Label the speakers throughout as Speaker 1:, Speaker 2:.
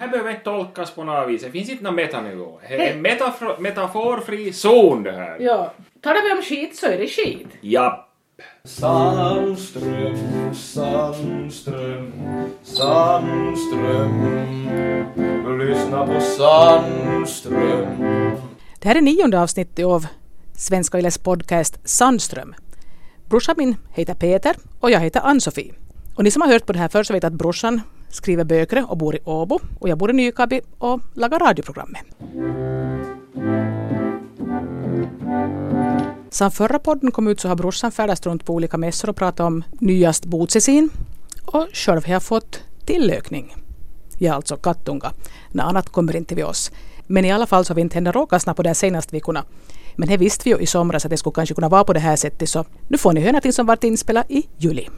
Speaker 1: här behöver inte tolkas på något vis. Det finns inte någon metanivå. Det är en metafro- metaforfri zon det här.
Speaker 2: Ja. Talar vi om skit så är det skit.
Speaker 1: Ja.
Speaker 3: Sandström, Sandström, Sandström. Lyssna på Sandström.
Speaker 4: Det här är nionde avsnittet av Svenska Yles podcast Sandström. Brorsan min heter Peter och jag heter Ann-Sofie. Och ni som har hört på det här förr så vet att brorsan skriver böcker och bor i Åbo och jag bor i Nykabi och lagar radioprogrammet. Sen förra podden kom ut så har brorsan färdats runt på olika mässor och pratat om nyast Boutsesin och själv har jag fått tillökning. Ja, alltså kattunga. Något annat kommer inte vid oss. Men i alla fall så har vi inte heller råkat snabba på det här senaste veckorna. Men det visste vi ju i somras att det skulle kanske kunna vara på det här sättet så nu får ni höra någonting som varit inspelat i juli.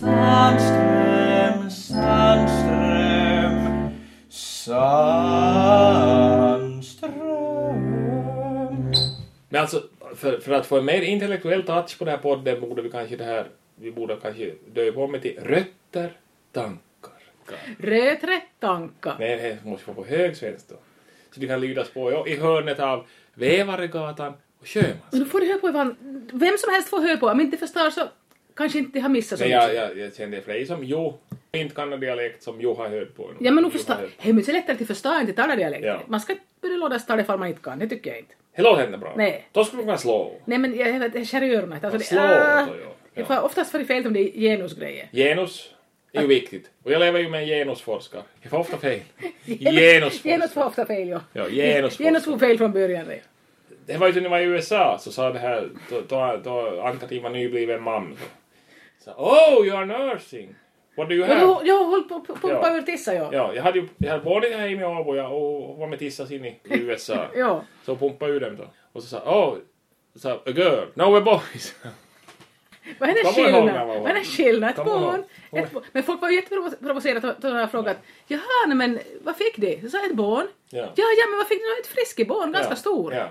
Speaker 3: Sandström, Sandström, Sandström.
Speaker 1: Men alltså, för, för att få en mer intellektuell touch på den här podden borde vi kanske det här, vi borde kanske döpa om det till rötter, tankar.
Speaker 2: Rödträttankar.
Speaker 1: Nej, det måste vara på hög svenska då. Så det kan lydas på ja, i hörnet av Vävaregatan och Sjömans.
Speaker 2: Nu får du höra på Ivan. Vem som helst får höra på. Om inte förstår så kanske inte har missat så
Speaker 1: Men jag,
Speaker 2: mycket.
Speaker 1: jag, jag kände fler som jo, inte kan en dialekt som jo har hört på.
Speaker 2: Ja men nu
Speaker 1: Jo har
Speaker 2: förstår...
Speaker 1: hört på.
Speaker 2: Hej men så lättare att förstå än att tala dialekt.
Speaker 1: Ja.
Speaker 2: Man ska inte börja låta sig tala ifall man inte kan. Det tycker jag inte.
Speaker 1: Det låter inte bra.
Speaker 2: Nej.
Speaker 1: Då skulle man kunna slå.
Speaker 2: Nej men jag vet, jag kär i öronen. Alltså,
Speaker 1: Slå
Speaker 2: ah,
Speaker 1: då, ja. Ja.
Speaker 2: Jag får oftast får det fel om det är genusgrejer.
Speaker 1: Genus är ju viktigt. Och jag lever ju med en genusforskare. Ah. Jag får ofta fel.
Speaker 2: Genus får
Speaker 1: Genusforskare.
Speaker 2: ofta fel, ja.
Speaker 1: Ja, genusforskare.
Speaker 2: Genus får fel från början. det.
Speaker 1: Det var ju så när jag var i USA så sa det här, då, då, då Ann-Katrin var nybliven mamma. Så. Så, oh, you are nursing. What do you
Speaker 2: Ja,
Speaker 1: have?
Speaker 2: du, jag håller på att pumpa
Speaker 1: Ja.
Speaker 2: ur tissa, ja.
Speaker 1: Ja, jag hade ju jag hade barnet här hemma i Åbo ja, och var med tissas in i i USA.
Speaker 2: Ja.
Speaker 1: Så pumpade ur dem då. Och så sa oh, så, a girl, no we're boys.
Speaker 2: Vad är det
Speaker 1: Kommer ihåg när
Speaker 2: skillnad?
Speaker 1: man var-
Speaker 2: Vad är det skillnad? Ett
Speaker 1: Kommer ihåg.
Speaker 2: barn?
Speaker 1: Kommer-
Speaker 2: Ett barn. Men folk var ju jätteprovocerade då jag frågat Jaha, nej, men vad fick de? Så sa ett barn.
Speaker 1: Ja.
Speaker 2: Ja, ja, men vad fick de? Ett friske barn, ganska
Speaker 1: Ja,
Speaker 2: stor.
Speaker 1: Ja.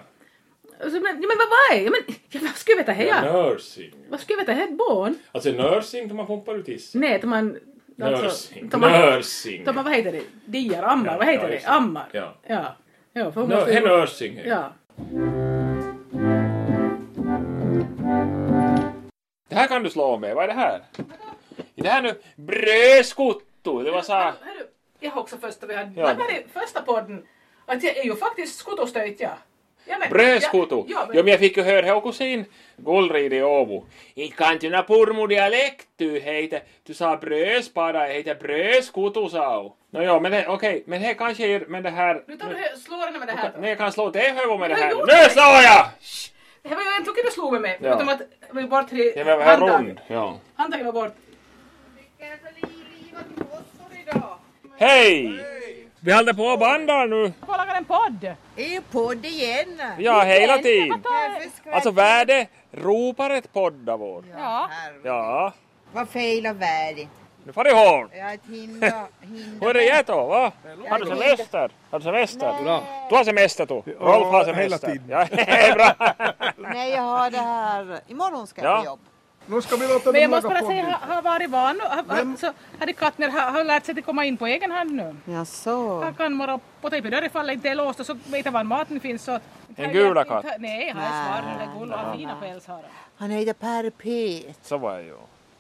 Speaker 2: Och Så, men, ja, men vad var det? Ja, men ja, vad skulle jag veta här? Ja.
Speaker 1: Nursing.
Speaker 2: Vad skulle jag veta här? Ett barn?
Speaker 1: Alltså nursing, då man pumpar ut tiss.
Speaker 2: Nej, tar man... alltså,
Speaker 1: Nursing.
Speaker 2: tar man,
Speaker 1: Nursing.
Speaker 2: Tar man, vad heter det? Diar, ammar,
Speaker 1: Ja,
Speaker 2: vad heter
Speaker 1: ja, just
Speaker 2: det?
Speaker 1: det.
Speaker 2: Ammar.
Speaker 1: Ja.
Speaker 2: Ja, ja för hon
Speaker 1: Nu-
Speaker 2: måste ju-
Speaker 1: en nursing. hej.
Speaker 2: Ja.
Speaker 1: Det här kan du slå med, vad är det här? Är det här nu brödskotto? Det var så här...
Speaker 2: Hörru, Jag har också första vi hade.
Speaker 1: Ja.
Speaker 2: Det här är första podden. Att jag är ju faktiskt skotostöjt jag. Ja, men-
Speaker 1: Brödskoto!
Speaker 2: Ja,
Speaker 1: Jo,
Speaker 2: ja,
Speaker 1: men
Speaker 2: men,
Speaker 1: jag fick ju höra här kusin Gullrid i Åbo. Inte kan du na purmudialekt du heter. Du sa brödspada, jag heter brödskoto sa hon. Nå jo, men det- okej, men det kanske är, men det här...
Speaker 2: nu tar du hö- slår henne med det här.
Speaker 1: Nej,
Speaker 2: Då.
Speaker 1: jag kan slå dig i huvudet med det
Speaker 2: Men jag
Speaker 1: här.
Speaker 2: gjorde
Speaker 1: Nu
Speaker 2: det.
Speaker 1: slår jag!
Speaker 2: Det här var ju en tokig du slog med mig.
Speaker 1: Ja.
Speaker 2: Utom att vi bara tre
Speaker 1: Ja, men det här är rund. Ja.
Speaker 2: Handtaget var bort.
Speaker 1: Hej! Vi håller på att banda nu.
Speaker 2: Vad lagar en podd?
Speaker 5: Det är ju podd igen.
Speaker 1: Ja, hela tiden.
Speaker 5: Varför skrattar
Speaker 1: Alltså värde ropar ett podda vår.
Speaker 5: jag här?
Speaker 1: Ja.
Speaker 5: Vad fel och värdigt.
Speaker 1: Nu far det hål.
Speaker 5: Jag hinner... hinner.
Speaker 1: Hur är det då, va? Har du semester? Har du semester? Du har semester du. Rolf har semester.
Speaker 6: hela tiden.
Speaker 1: Ja, bra.
Speaker 5: Nej, jag har det här. Imorgon ska jag
Speaker 1: Ja.
Speaker 5: på jobb.
Speaker 6: Nu ska vi låta
Speaker 2: Men
Speaker 6: dem
Speaker 2: jag måste
Speaker 6: laga
Speaker 2: bara säga,
Speaker 6: podden.
Speaker 2: har, har varit van och har, har, så, Harry Kattner har, har lärt sig att komma in på egen hand nu.
Speaker 5: Jaså?
Speaker 2: Han kan morra på typ dörren ifall det inte är låst och så vet han var maten finns. Så,
Speaker 1: En gula katt.
Speaker 2: Nej, han är svart eller gul och har fina päls har han.
Speaker 5: Han heter Per P.
Speaker 1: Så var jag ju.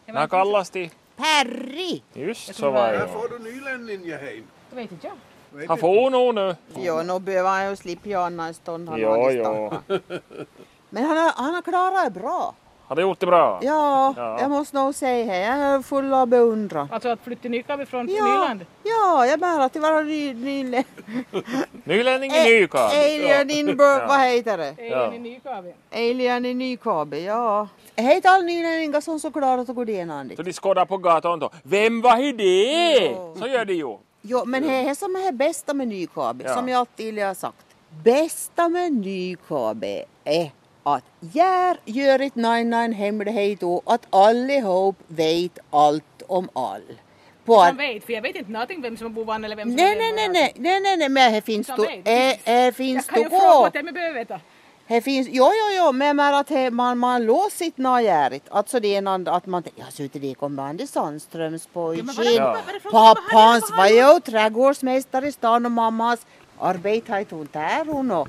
Speaker 1: När han kallas till...
Speaker 5: Perri!
Speaker 1: Just så var
Speaker 6: Här
Speaker 1: jag ju.
Speaker 6: får du nylänning jag hem.
Speaker 2: Det vet inte jag.
Speaker 1: Han får nog nu.
Speaker 5: Jo, nu behöver han ju slippa göra annat stånd. Han
Speaker 1: Jo,
Speaker 5: har
Speaker 1: jo.
Speaker 5: distans. Men han har, han har klarat det bra.
Speaker 1: Har du gjort det bra?
Speaker 5: Ja,
Speaker 1: Ja.
Speaker 5: jag måste nog säga det. Jag är full av beundran.
Speaker 2: Alltså att flytta till Nykabi från
Speaker 5: Ja,
Speaker 2: Nyland.
Speaker 5: ja, jag bär att det var ny... ny
Speaker 1: Nylänning i Nykarl.
Speaker 5: Alien in... Bur- Vad heter det?
Speaker 2: Eilen i Nykabi.
Speaker 5: Alien i Nykabi, ja. Hej till alla nylänningar som så klarat att gå igenom dit.
Speaker 1: Så de skådar på gatan då. Vem var det? Så gör de ju.
Speaker 5: Jo, men det är som är bästa med Nykabi,
Speaker 1: Ja.
Speaker 5: som jag alltid har sagt. Bästa med Nykabi är att jag gör ett nine-nine hemlighet och att allihop vet allt om all. På
Speaker 2: Man vet, för jag vet inte någonting vem som bor var eller vem som
Speaker 5: Nej,
Speaker 2: är
Speaker 5: nej,
Speaker 2: var.
Speaker 5: nej, nej, nej, nej, men här finns
Speaker 2: Som
Speaker 5: du,
Speaker 2: vet.
Speaker 5: här, här finns
Speaker 2: Jag kan
Speaker 5: du
Speaker 2: ju fråga
Speaker 5: gå.
Speaker 2: åt dem, jag behöver veta.
Speaker 5: Det finns, jo, jo, jo, men jag menar att he, man, man låser inte något jävligt. Alltså det är någon, att man tänker, jag sitter där kommer Anders Sandströms
Speaker 2: Ja,
Speaker 5: pojke.
Speaker 2: men vad är det- vad är det för- vad är det-
Speaker 5: Pappans
Speaker 2: vad
Speaker 5: var
Speaker 2: är det-
Speaker 5: ju trädgårdsmästare i stan och mammas arbete har hon där hon och,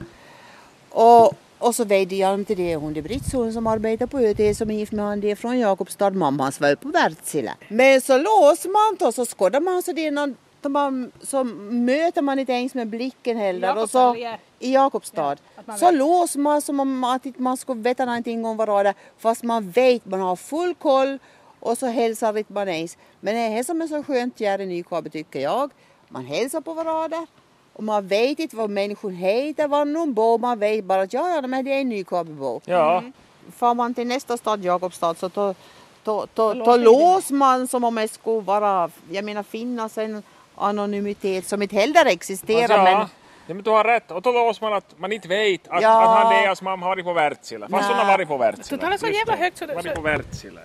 Speaker 5: och, och så vädjade jag om till det hon, det är Britts hon som arbetar på ÖT som är gift med han, det är från Jakobstad, mammas var ju på Wärtsilä. Men så låser man då, så skådar man så det är någon då man, så möter man inte ens med blicken heller. Och
Speaker 2: Jakobstad
Speaker 5: så,
Speaker 2: eller Gär?
Speaker 5: I Jakobstad.
Speaker 2: Ja, att man
Speaker 5: så
Speaker 2: vet.
Speaker 5: låser man som om att inte man skulle veta någonting om varandra fast man vet, man har full koll och så hälsar inte man ens. Men det här som är så skönt här i Nykabe tycker jag. Man hälsar på varandra och man vet inte vad människan heter, var någon bor, man vet bara att ja, ja, men det är en Nykabebo.
Speaker 1: Ja.
Speaker 5: Far man till nästa stad, Jakobstad, så då, då, då, då,
Speaker 2: låter det
Speaker 5: lås man som om det skulle vara, jag menar finnas en anonymitet som inte heller existerar.
Speaker 1: Alltså,
Speaker 5: men,
Speaker 1: ja. Ja, men du har rätt. Och då låser man att man inte vet att,
Speaker 5: Ja.
Speaker 1: att han Leas mamma har varit på Wärtsilä. Fast hon har
Speaker 5: Nej.
Speaker 1: varit på Wärtsilä.
Speaker 2: Du talar så
Speaker 1: Just
Speaker 2: jävla
Speaker 1: det.
Speaker 2: högt så det-
Speaker 1: Varit
Speaker 2: så-
Speaker 1: på Wärtsilä.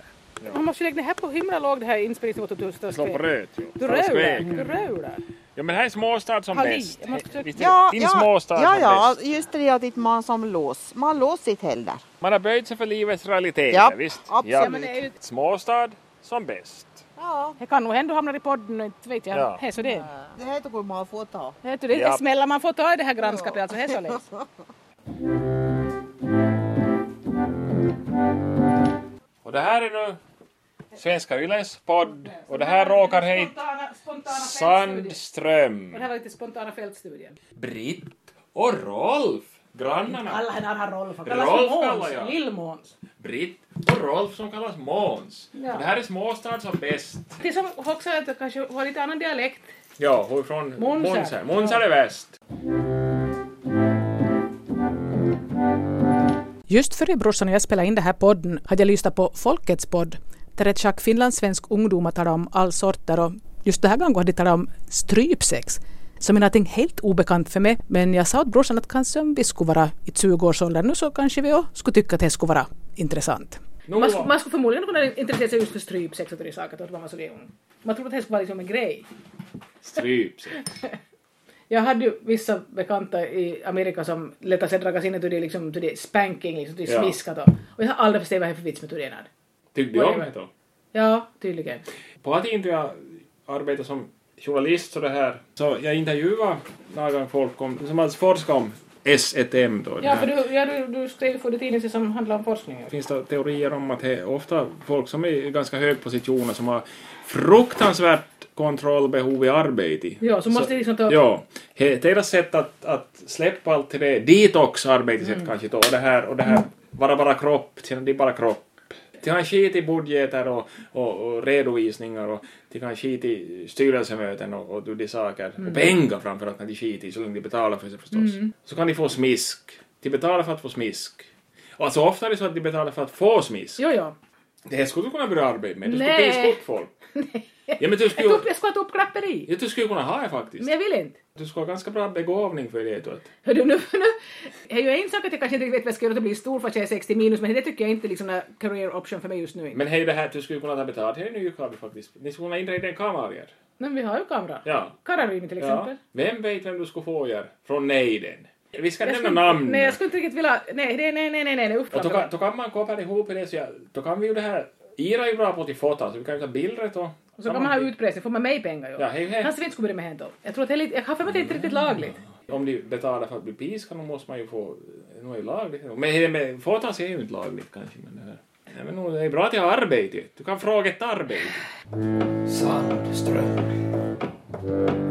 Speaker 2: Man måste ju lägga det här på himla låg det här inspelningsnivån till tusen.
Speaker 1: Slå på röt. ju.
Speaker 2: Du
Speaker 1: Slå
Speaker 2: rölar,
Speaker 1: skväg.
Speaker 2: du rölar.
Speaker 1: Ja men här är småstad som
Speaker 2: Halli,
Speaker 1: bäst.
Speaker 2: jag måste-
Speaker 1: Visst är det?
Speaker 5: Ja,
Speaker 1: Din småstad
Speaker 5: ja,
Speaker 1: som
Speaker 5: ja
Speaker 1: bäst.
Speaker 5: just det att inte man som lås. Man låser inte heller.
Speaker 1: Man har böjt sig för livets realiteter,
Speaker 5: Japp,
Speaker 1: visst?
Speaker 5: absolut.
Speaker 2: Ja, men det är ju-
Speaker 1: Småstad som bäst.
Speaker 5: Ja,
Speaker 2: Det kan nog hända du hamnar i podden, inte vet jag.
Speaker 1: Ja.
Speaker 2: Hej, så det.
Speaker 5: det här tycker man får ta.
Speaker 2: Vet du, det är
Speaker 1: Ja.
Speaker 2: smällar man får ta i det här grannskapet alltså. Hej så länge.
Speaker 1: Och det här är nu Svenska Yles podd och det här råkar heta
Speaker 2: Spontana, spontana fältstudien.
Speaker 1: Sandström.
Speaker 2: Och det här var lite spontana fältstudien.
Speaker 1: Britt och Rolf, grannarna.
Speaker 2: Alla här har Rolf. Han
Speaker 1: Rolf
Speaker 2: kallas för
Speaker 1: kallar jag.
Speaker 2: Måns. Lill-Måns.
Speaker 1: Britt och Rolf som kallas Måns.
Speaker 2: Ja.
Speaker 1: Och det här är småstad som bäst.
Speaker 2: Det som också är att det kanske har lite annan dialekt.
Speaker 1: Ja, hon är från
Speaker 2: Månsar.
Speaker 1: Månsar. Månsar är väst.
Speaker 4: Just före brorsan och jag spelade in den här podden hade jag lyssnat på Folkets podd där ett schack finlandssvensk ungdomar talar om all sorter och just den här gången hade de talat om strypsex som är någonting helt obekant för mig men jag sa åt brorsan att kanske om vi skulle vara i 20-årsåldern nu så kanske vi också skulle tycka att det skulle vara intressant.
Speaker 1: Nu,
Speaker 2: Man, sk- man skulle förmodligen kunna intressera sig just för strypsex och sådana saker då man var så ung. Man trodde att det skulle vara liksom en grej.
Speaker 1: stryps det.
Speaker 2: Jag hade ju vissa bekanta i Amerika som letade sig dragas in i det liksom, till det spanking, liksom, till
Speaker 1: Ja.
Speaker 2: smiskat och, och jag har aldrig förstått vad det är för vits med det
Speaker 1: Tyckte du om det då?
Speaker 2: Ja, tydligen.
Speaker 1: På att inte jag arbetar som journalist så det här, så jag intervjuade några gånger folk om, som alltså forskar om S1M då. det
Speaker 2: Ja,
Speaker 1: här.
Speaker 2: för du, ja, du, du skrev för det tidning som handlar om forskning.
Speaker 1: finns det teorier om att det är ofta folk som är i ganska hög positioner som har fruktansvärt kontrollbehov i arbetet.
Speaker 2: Ja, så måste liksom ta-
Speaker 1: Ja. He, deras sätt att, att släppa allt till det, detox-arbetet mm. kanske då, och det här, och det här, vara bara kropp, känna dig bara kropp. De har skit i budgetar och, och, och redovisningar och de kan skit i styrelsemöten och, och de saker.
Speaker 2: Mm.
Speaker 1: Och pengar framförallt när de skit i, så länge de betalar för sig förstås. Så kan de få smisk. De betalar för att få smisk. Alltså ofta är det så att de betalar för att få smisk.
Speaker 2: Jo, jo.
Speaker 1: Det här skulle du kunna börja arbeta med. Du skulle
Speaker 2: Nej.
Speaker 1: piska upp folk. Ja, men du
Speaker 2: Jag,
Speaker 1: skulle,
Speaker 2: tog, jag skulle ha ett uppklapperi.
Speaker 1: ja, du skulle kunna ha det faktiskt.
Speaker 2: Men jag vill inte.
Speaker 1: Du skulle ha ganska bra begåvning för det. tror jag.
Speaker 2: Hör du, nu, nu, det är ju en sak att jag kanske inte riktigt vet vad jag ska göra att bli stor fast jag är 60 minus men det tycker jag inte liksom är career option för mig just nu. Men,
Speaker 1: Men hej det här, du skulle kunna ta betalt. Här är Nykabi faktiskt. Ni skulle kunna inreda en kamarier.
Speaker 2: men vi har ju kamera.
Speaker 1: Ja.
Speaker 2: Kararyymi till exempel.
Speaker 1: ja. Vem vet vem du skulle få er från nejden? Vi ska
Speaker 2: Jag
Speaker 1: nämna
Speaker 2: skulle-
Speaker 1: namn.
Speaker 2: Nej, jag skulle inte riktigt vilja... Nej, nej, nej, nej, nej, nej, nej
Speaker 1: Och då
Speaker 2: uppklara.
Speaker 1: kan, då kan man koppla ihop det så jag, då kan vi ju det här. Ira är ju bra på att fota så vi kan ju ta bilder och...
Speaker 2: Och så kan man ha utpressning, får man mig pengar ju.
Speaker 1: Ja, hej, hej.
Speaker 2: Han skulle inte skulle börja med henne då. Jag tror att det är lite... Jag har för mig att det inte är riktigt lagligt.
Speaker 1: Om de betalar för att bli piskade då måste man ju få... Nu är det lagligt. Men det med fotas är ju inte lagligt kanske. Men det, här. Nej, men nog, det är bra att jag har arbete. Du kan fråga ett arbete.
Speaker 3: Sandström.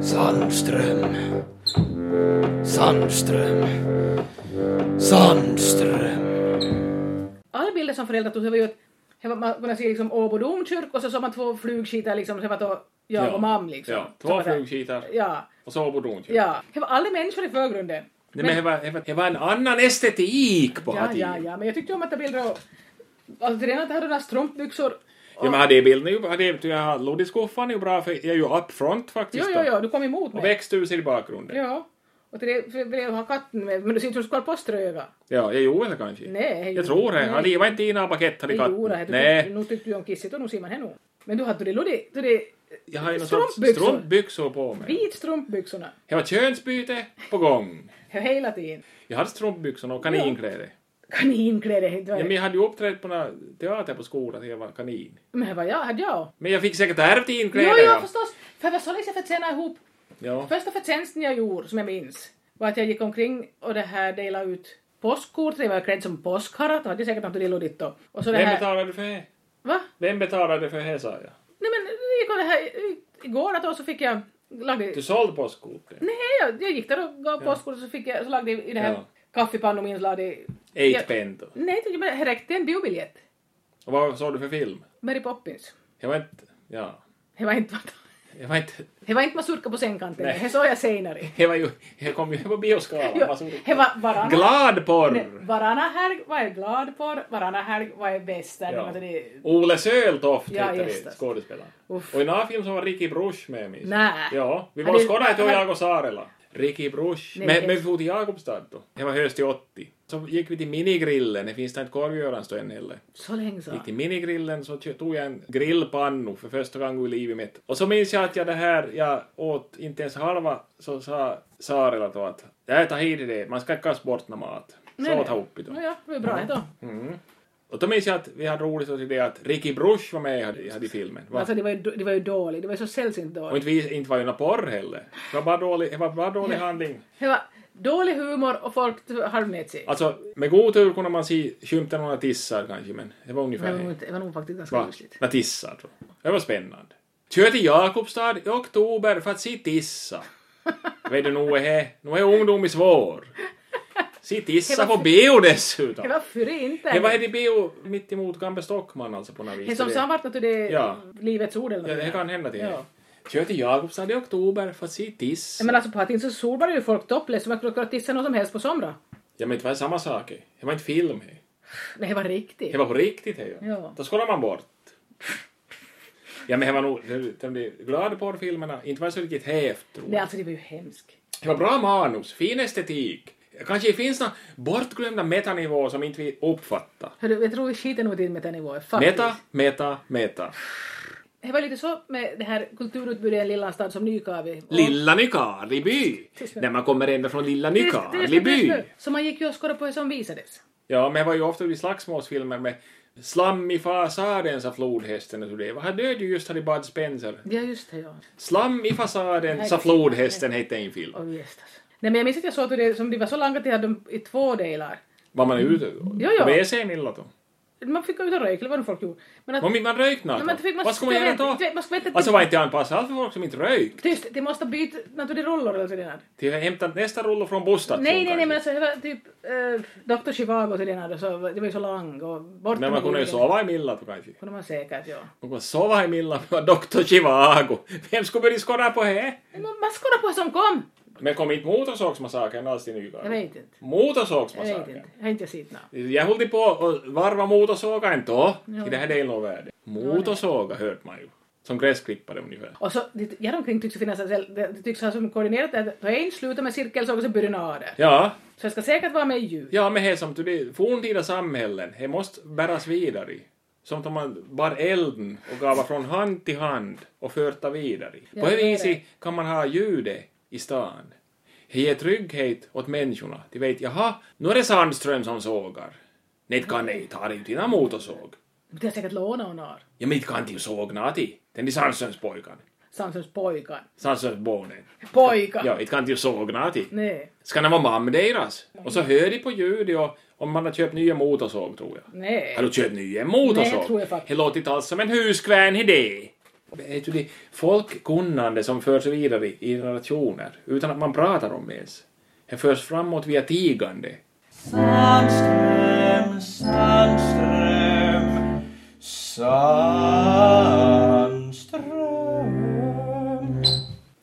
Speaker 3: Sandström. Sandström. Sandström.
Speaker 2: Alla bilder som föräldrar tog så var ju att... här var- Man kunde se liksom Åbo domkyrka och så såg man två flugskitar liksom. Sen var det jag och mam liksom.
Speaker 1: Ja,
Speaker 2: Så
Speaker 1: två
Speaker 2: var det-
Speaker 1: flugskitar
Speaker 2: Ja,
Speaker 1: och så bodde
Speaker 2: ja. Det var alla människor i förgrunden.
Speaker 1: Nej, men det var, det var- det var en annan estetik på
Speaker 2: Ja,
Speaker 1: att
Speaker 2: ja, ja, men jag tyckte om att ta bilder av... Alltså till den att jag hade några strumpbyxor.
Speaker 1: Ja, men hade bilden ju... Hade, jag har Lodiskoffan är ju bra för jag är ju upfront
Speaker 2: Jo,
Speaker 1: faktiskt.
Speaker 2: jo,
Speaker 1: då.
Speaker 2: jo, du kom emot mig.
Speaker 1: Och växthuset i bakgrunden.
Speaker 2: Ja. Och till det för jag ville jag ha katten med, men du ser inte ut som Karl Poströga.
Speaker 1: Ja, jag gjorde det kanske.
Speaker 2: Nej, hej,
Speaker 1: Jag tror det.
Speaker 2: nej.
Speaker 1: Han livar inte i några paket här i
Speaker 2: Jodå,
Speaker 1: katten.
Speaker 2: det-
Speaker 1: Nej.
Speaker 2: nu tyckte du om kissigt och nu ser man henne. Men du hade det, det, det
Speaker 1: Jag har ju någon sorts
Speaker 2: Strumpbyxor.
Speaker 1: strumpbyxor på mig.
Speaker 2: Vit strumpbyxorna.
Speaker 1: Jag har könsbyte på gång.
Speaker 2: Hela tiden.
Speaker 1: Jag hade strumpbyxorna och kaninkläder.
Speaker 2: Kaninkläder. inte
Speaker 1: Ja,
Speaker 2: vad-
Speaker 1: men jag hade ju uppträtt på någon teater på skolan till jag var kanin.
Speaker 2: Men vad jag hade jag?
Speaker 1: Men jag fick säkert ärvt
Speaker 2: Jo,
Speaker 1: inkläder.
Speaker 2: jo,
Speaker 1: ja.
Speaker 2: förstås. För jag var så länge för att tjäna ihop.
Speaker 1: Ja.
Speaker 2: Första förtjänsten jag gjorde, som jag minns, var att jag gick omkring och det här delade ut påskkort. Jag var klädd som påskharra. Då hade jag säkert något lillo ditt då. Och så det
Speaker 1: Vem
Speaker 2: här...
Speaker 1: betalade för det?
Speaker 2: Va?
Speaker 1: Vem betalade för det, sa jag.
Speaker 2: Nej men, jag gick och det här ut igår att då så fick jag... Lagde...
Speaker 1: Du sålde påskkortet.
Speaker 2: Nej, jag, jag gick där och gav påskkort och så fick jag... Så lagde jag i det här
Speaker 1: Ja.
Speaker 2: kaffepannan min så lagde... jag-
Speaker 1: Eight
Speaker 2: Ja.
Speaker 1: pent.
Speaker 2: Nej, det men det räckte en biobiljett.
Speaker 1: Och vad såg du för film?
Speaker 2: Mary Poppins.
Speaker 1: Jag var inte... Ja.
Speaker 2: Det var inte...
Speaker 1: Jag var inte...
Speaker 2: Det var inte mazurka på sängkanten.
Speaker 1: Nej.
Speaker 2: Det såg jag senare.
Speaker 1: Jag var ju... Jag kom ju på bioskalan.
Speaker 2: Jo,
Speaker 1: Vad såg du?
Speaker 2: det var varannan...
Speaker 1: Glad
Speaker 2: Nej,
Speaker 1: porr!
Speaker 2: Varannan helg var jag glad på, varannan helg var jag bäst. där. Det var
Speaker 1: Ja.
Speaker 2: det-
Speaker 1: Ole Söltoft
Speaker 2: Ja,
Speaker 1: hette
Speaker 2: just
Speaker 1: det,
Speaker 2: det.
Speaker 1: skådespelaren.
Speaker 2: Uff.
Speaker 1: Och i den här filmen så var Ricky Bruch med minns jag.
Speaker 2: Nä.
Speaker 1: Ja, vi
Speaker 2: Ja,
Speaker 1: var och
Speaker 2: det-
Speaker 1: skådade ett och
Speaker 2: men-
Speaker 1: jag och Sarela. Ricky Bruch.
Speaker 2: Nej,
Speaker 1: Men,
Speaker 2: det-
Speaker 1: men vi for till Jakobstad då. Det var höst i 80. Så gick vi till minigrillen, det finns där inte korvgörans då än heller.
Speaker 2: Så länge så.
Speaker 1: Gick till minigrillen så kö- tog jag en grillpannu för första gången i livet mitt. Och så minns jag att jag det här, jag åt inte ens halva, så sa Sarela då att jag tar hit det, man ska inte kasta bort någon mat. Så åt han upp det då.
Speaker 2: No, ja, det var bra ändå.
Speaker 1: Och då minns jag att vi hade roligt åt det att Ricky Bruch var med i hade, hade i filmen. Va?
Speaker 2: Alltså det var, ju, det var ju dåligt, det var ju så sällsynt
Speaker 1: Och
Speaker 2: dåligt.
Speaker 1: inte, vi- inte var ju någon porr heller. Det var bara dålig, det var bara dålig handling.
Speaker 2: Det var dålig humor och folk halvnät sig.
Speaker 1: Alltså, med god tur kunde man se skymten några tissar kanske, men det var
Speaker 2: Det
Speaker 1: ungefär
Speaker 2: var nog
Speaker 1: det.
Speaker 2: inte- det var nog faktiskt ganska
Speaker 1: Va?
Speaker 2: kusligt.
Speaker 1: Några tissar, tror jag. Det var spännande. Kör till Jakobstad i oktober för att se tissa. Vet du, nu är, det- nu är ungdom i svår. Se tissa på bio dessutom.
Speaker 2: Det var före inte.
Speaker 1: Det var Eddie bio mitt emot Gamle Stockman alltså på något vis.
Speaker 2: Det som
Speaker 1: Det-
Speaker 2: samvartat till det
Speaker 1: Ja.
Speaker 2: Livets Ord eller
Speaker 1: Ja,
Speaker 2: något
Speaker 1: det kan hända till
Speaker 2: Ja.
Speaker 1: er. Kör till Jakobstad i oktober för att se tiss.
Speaker 2: Ja, Men alltså på att inte så solbad är ju folk toppless som jag kunde tissa någon som helst på somra.
Speaker 1: Ja, men det var samma sak. eh. Det var inte film. eh.
Speaker 2: Nej, det var riktigt.
Speaker 1: Det var på riktigt. eh,
Speaker 2: Ja.
Speaker 1: Då skålar man bort. Ja, men det var nog... det- De där glada porrfilmerna, inte var det så riktigt hävt, tror
Speaker 2: Nej,
Speaker 1: jag.
Speaker 2: alltså det var ju hemskt.
Speaker 1: Det var bra manus, fin estetik. Kanske det finns några bortglömda metanivåer som inte vi uppfattar.
Speaker 2: Hörru, jag tror vi skiter nog till metanivåer. faktiskt.
Speaker 1: Meta, meta, meta.
Speaker 2: Det var lite så med det här kulturutbudet i en lilla stad som Nykavi. Och-
Speaker 1: Lilla Nykarleby! När man kommer ända från Lilla
Speaker 2: Tyst, tyst,
Speaker 1: Nykarleby!
Speaker 2: tyst nu. Så man gick ju och skådade på det som visades.
Speaker 1: Ja, men det var ju ofta vid slagsmålsfilmer med Slam i fasaden, sa flodhästen och så det. Vad hade du just hade Bud Spencer?
Speaker 2: Ja, just det, ja.
Speaker 1: Slam i fasaden, sa flodhästen, hette en film.
Speaker 2: Och gästas. Nej, men jag minns att jag såg att det som de var så långa att de hade dem i två delar.
Speaker 1: Var man ute då?
Speaker 2: Jo, jo.
Speaker 1: På WC millat då?
Speaker 2: Man fick gå ut och röka, eller vad nu folk gjorde. Men att...
Speaker 1: Om inte man rökt något?
Speaker 2: Nej, men fick man-
Speaker 1: Vad ska man
Speaker 2: jag
Speaker 1: göra
Speaker 2: vet-
Speaker 1: då?
Speaker 2: jag vet- man ska veta-
Speaker 1: Alltså var inte anpassat allt för folk som inte rökt?
Speaker 2: Tyst, de måste byta naturligt roller eller sådär.
Speaker 1: Till att hämta nästa rulle från bostationen
Speaker 2: Nej, nej, nej, men
Speaker 1: kanske.
Speaker 2: alltså det var typ äh, Dr. Chivago till den här, så alltså, det var ju så lång och bort
Speaker 1: Men man
Speaker 2: med
Speaker 1: kunde ju
Speaker 2: ryggen.
Speaker 1: sova i millat då kanske.
Speaker 2: Kunde man säkert, ja.
Speaker 1: Man kunde sova i millat med Dr. Chivago. Vem skulle börja skåda på det?
Speaker 2: Men man man skådade på det som kom!
Speaker 1: Men kom inte motorsågsmassakern alls till
Speaker 2: Jag
Speaker 1: Nykarleby?
Speaker 2: vet inte. Jag vet
Speaker 1: Motorsågsmassakern?
Speaker 2: inte. Jag har inte sett något.
Speaker 1: Jag höll till på och varva motorsåga inte då,
Speaker 2: Ja.
Speaker 1: i det här delen av världen. Motorsåga hörde man ju. Som gräsklippare ungefär.
Speaker 2: Och så, det, däromkring tycks det finnas en del- det det tycks ha som koordinerat det att då en slutar med cirkelsåg och så börjar den av där.
Speaker 1: Ja,
Speaker 2: Så jag ska säkert vara med i ljud.
Speaker 1: ja men det som till det forntida samhällen, det måste bäras vidare. i. Som om man bar elden och gav från hand till hand och förta vidare.
Speaker 2: Ja,
Speaker 1: På det
Speaker 2: det är
Speaker 1: viset
Speaker 2: det.
Speaker 1: kan man ha ljudet i stan. Det ger trygghet åt människorna. De vet, jaha, nu är det Sandström som sågar. Nej, det kan nej, ta dig till dina motorsåg.
Speaker 2: Det har säkert lånat och när.
Speaker 1: Ja, men inte kan de ju sågna till. Den är Sandströms pojkar.
Speaker 2: Samsons pojkar.
Speaker 1: Sannsynsbarnen.
Speaker 2: Pojkar!
Speaker 1: Ja, inte kan de ju sågna till.
Speaker 2: Nej,
Speaker 1: Ska de vara mamma deras? Och så hör de på ljudet och om man har köpt nya motorsåg, tror jag.
Speaker 2: nej.
Speaker 1: Har du köpt nya
Speaker 2: Nej, tror jag
Speaker 1: motorsåg?
Speaker 2: faktiskt.
Speaker 1: Det låter inte alls som en huskvän idé. Vet du, det är folkkunnande som förs vidare i generationer utan att man pratar om det ens. Det förs framåt via tigande.
Speaker 3: Sandström, Sandström, Sandström.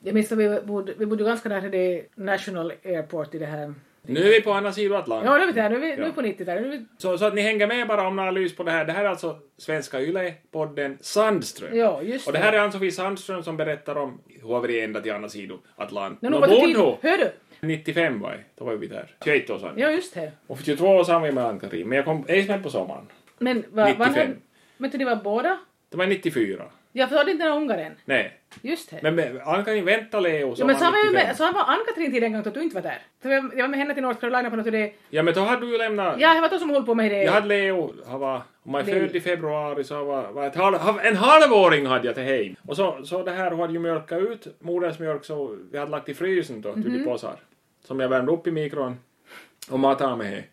Speaker 2: Jag minns att vi bodde, vi bodde ganska nära det National Airport i det här.
Speaker 1: Nu är vi på andra sidan
Speaker 2: Ja, nu
Speaker 1: Atlanten.
Speaker 2: är vi där. Nu är vi, nu är vi
Speaker 1: Ja.
Speaker 2: på 90-talet. Nu är vi-
Speaker 1: Så, så att ni hänger med bara om ni har lys på det här. Det här är alltså Svenska Yle-podden Sandström.
Speaker 2: Ja, just
Speaker 1: Och det här är Ann-Sofie Sandström som berättar om hur vi ända till andra sidan Atlanten.
Speaker 2: Nu
Speaker 1: Nå,
Speaker 2: var det tid.
Speaker 1: bodde hon?
Speaker 2: Hör du?
Speaker 1: 95 var det. Då var vi där. 21 år sedan.
Speaker 2: Ja, just det.
Speaker 1: Och för 22 år sedan var jag med Ann-Karin. Men jag kom ej med på sommaren.
Speaker 2: Men vad...
Speaker 1: 95.
Speaker 2: Men det var båda?
Speaker 1: Det var 94.
Speaker 2: Jag hörde inte den här ungaren.
Speaker 1: Nej.
Speaker 2: Just det.
Speaker 1: Men, men Ann-Karin vänta Leo.
Speaker 2: ja,
Speaker 1: som
Speaker 2: men så
Speaker 1: han
Speaker 2: var, jag
Speaker 1: 95.
Speaker 2: med, så var Ann-Katrin till en gång då du inte var där. Så jag, jag var med henne till North Carolina på något och det.
Speaker 1: Ja men då hade du ju lämnat.
Speaker 2: Ja, det var då som höll på med det.
Speaker 1: Jag hade Leo, han var, om man är
Speaker 2: Leo.
Speaker 1: född i februari så han var, var ett halv, halv- en halvåring hade jag till hem. Och så, så det här hon hade ju mjölkat ut modersmjölk så vi hade lagt i frysen då, till
Speaker 2: Mhm.
Speaker 1: i påsar. Som jag värmde upp i mikron och matade med.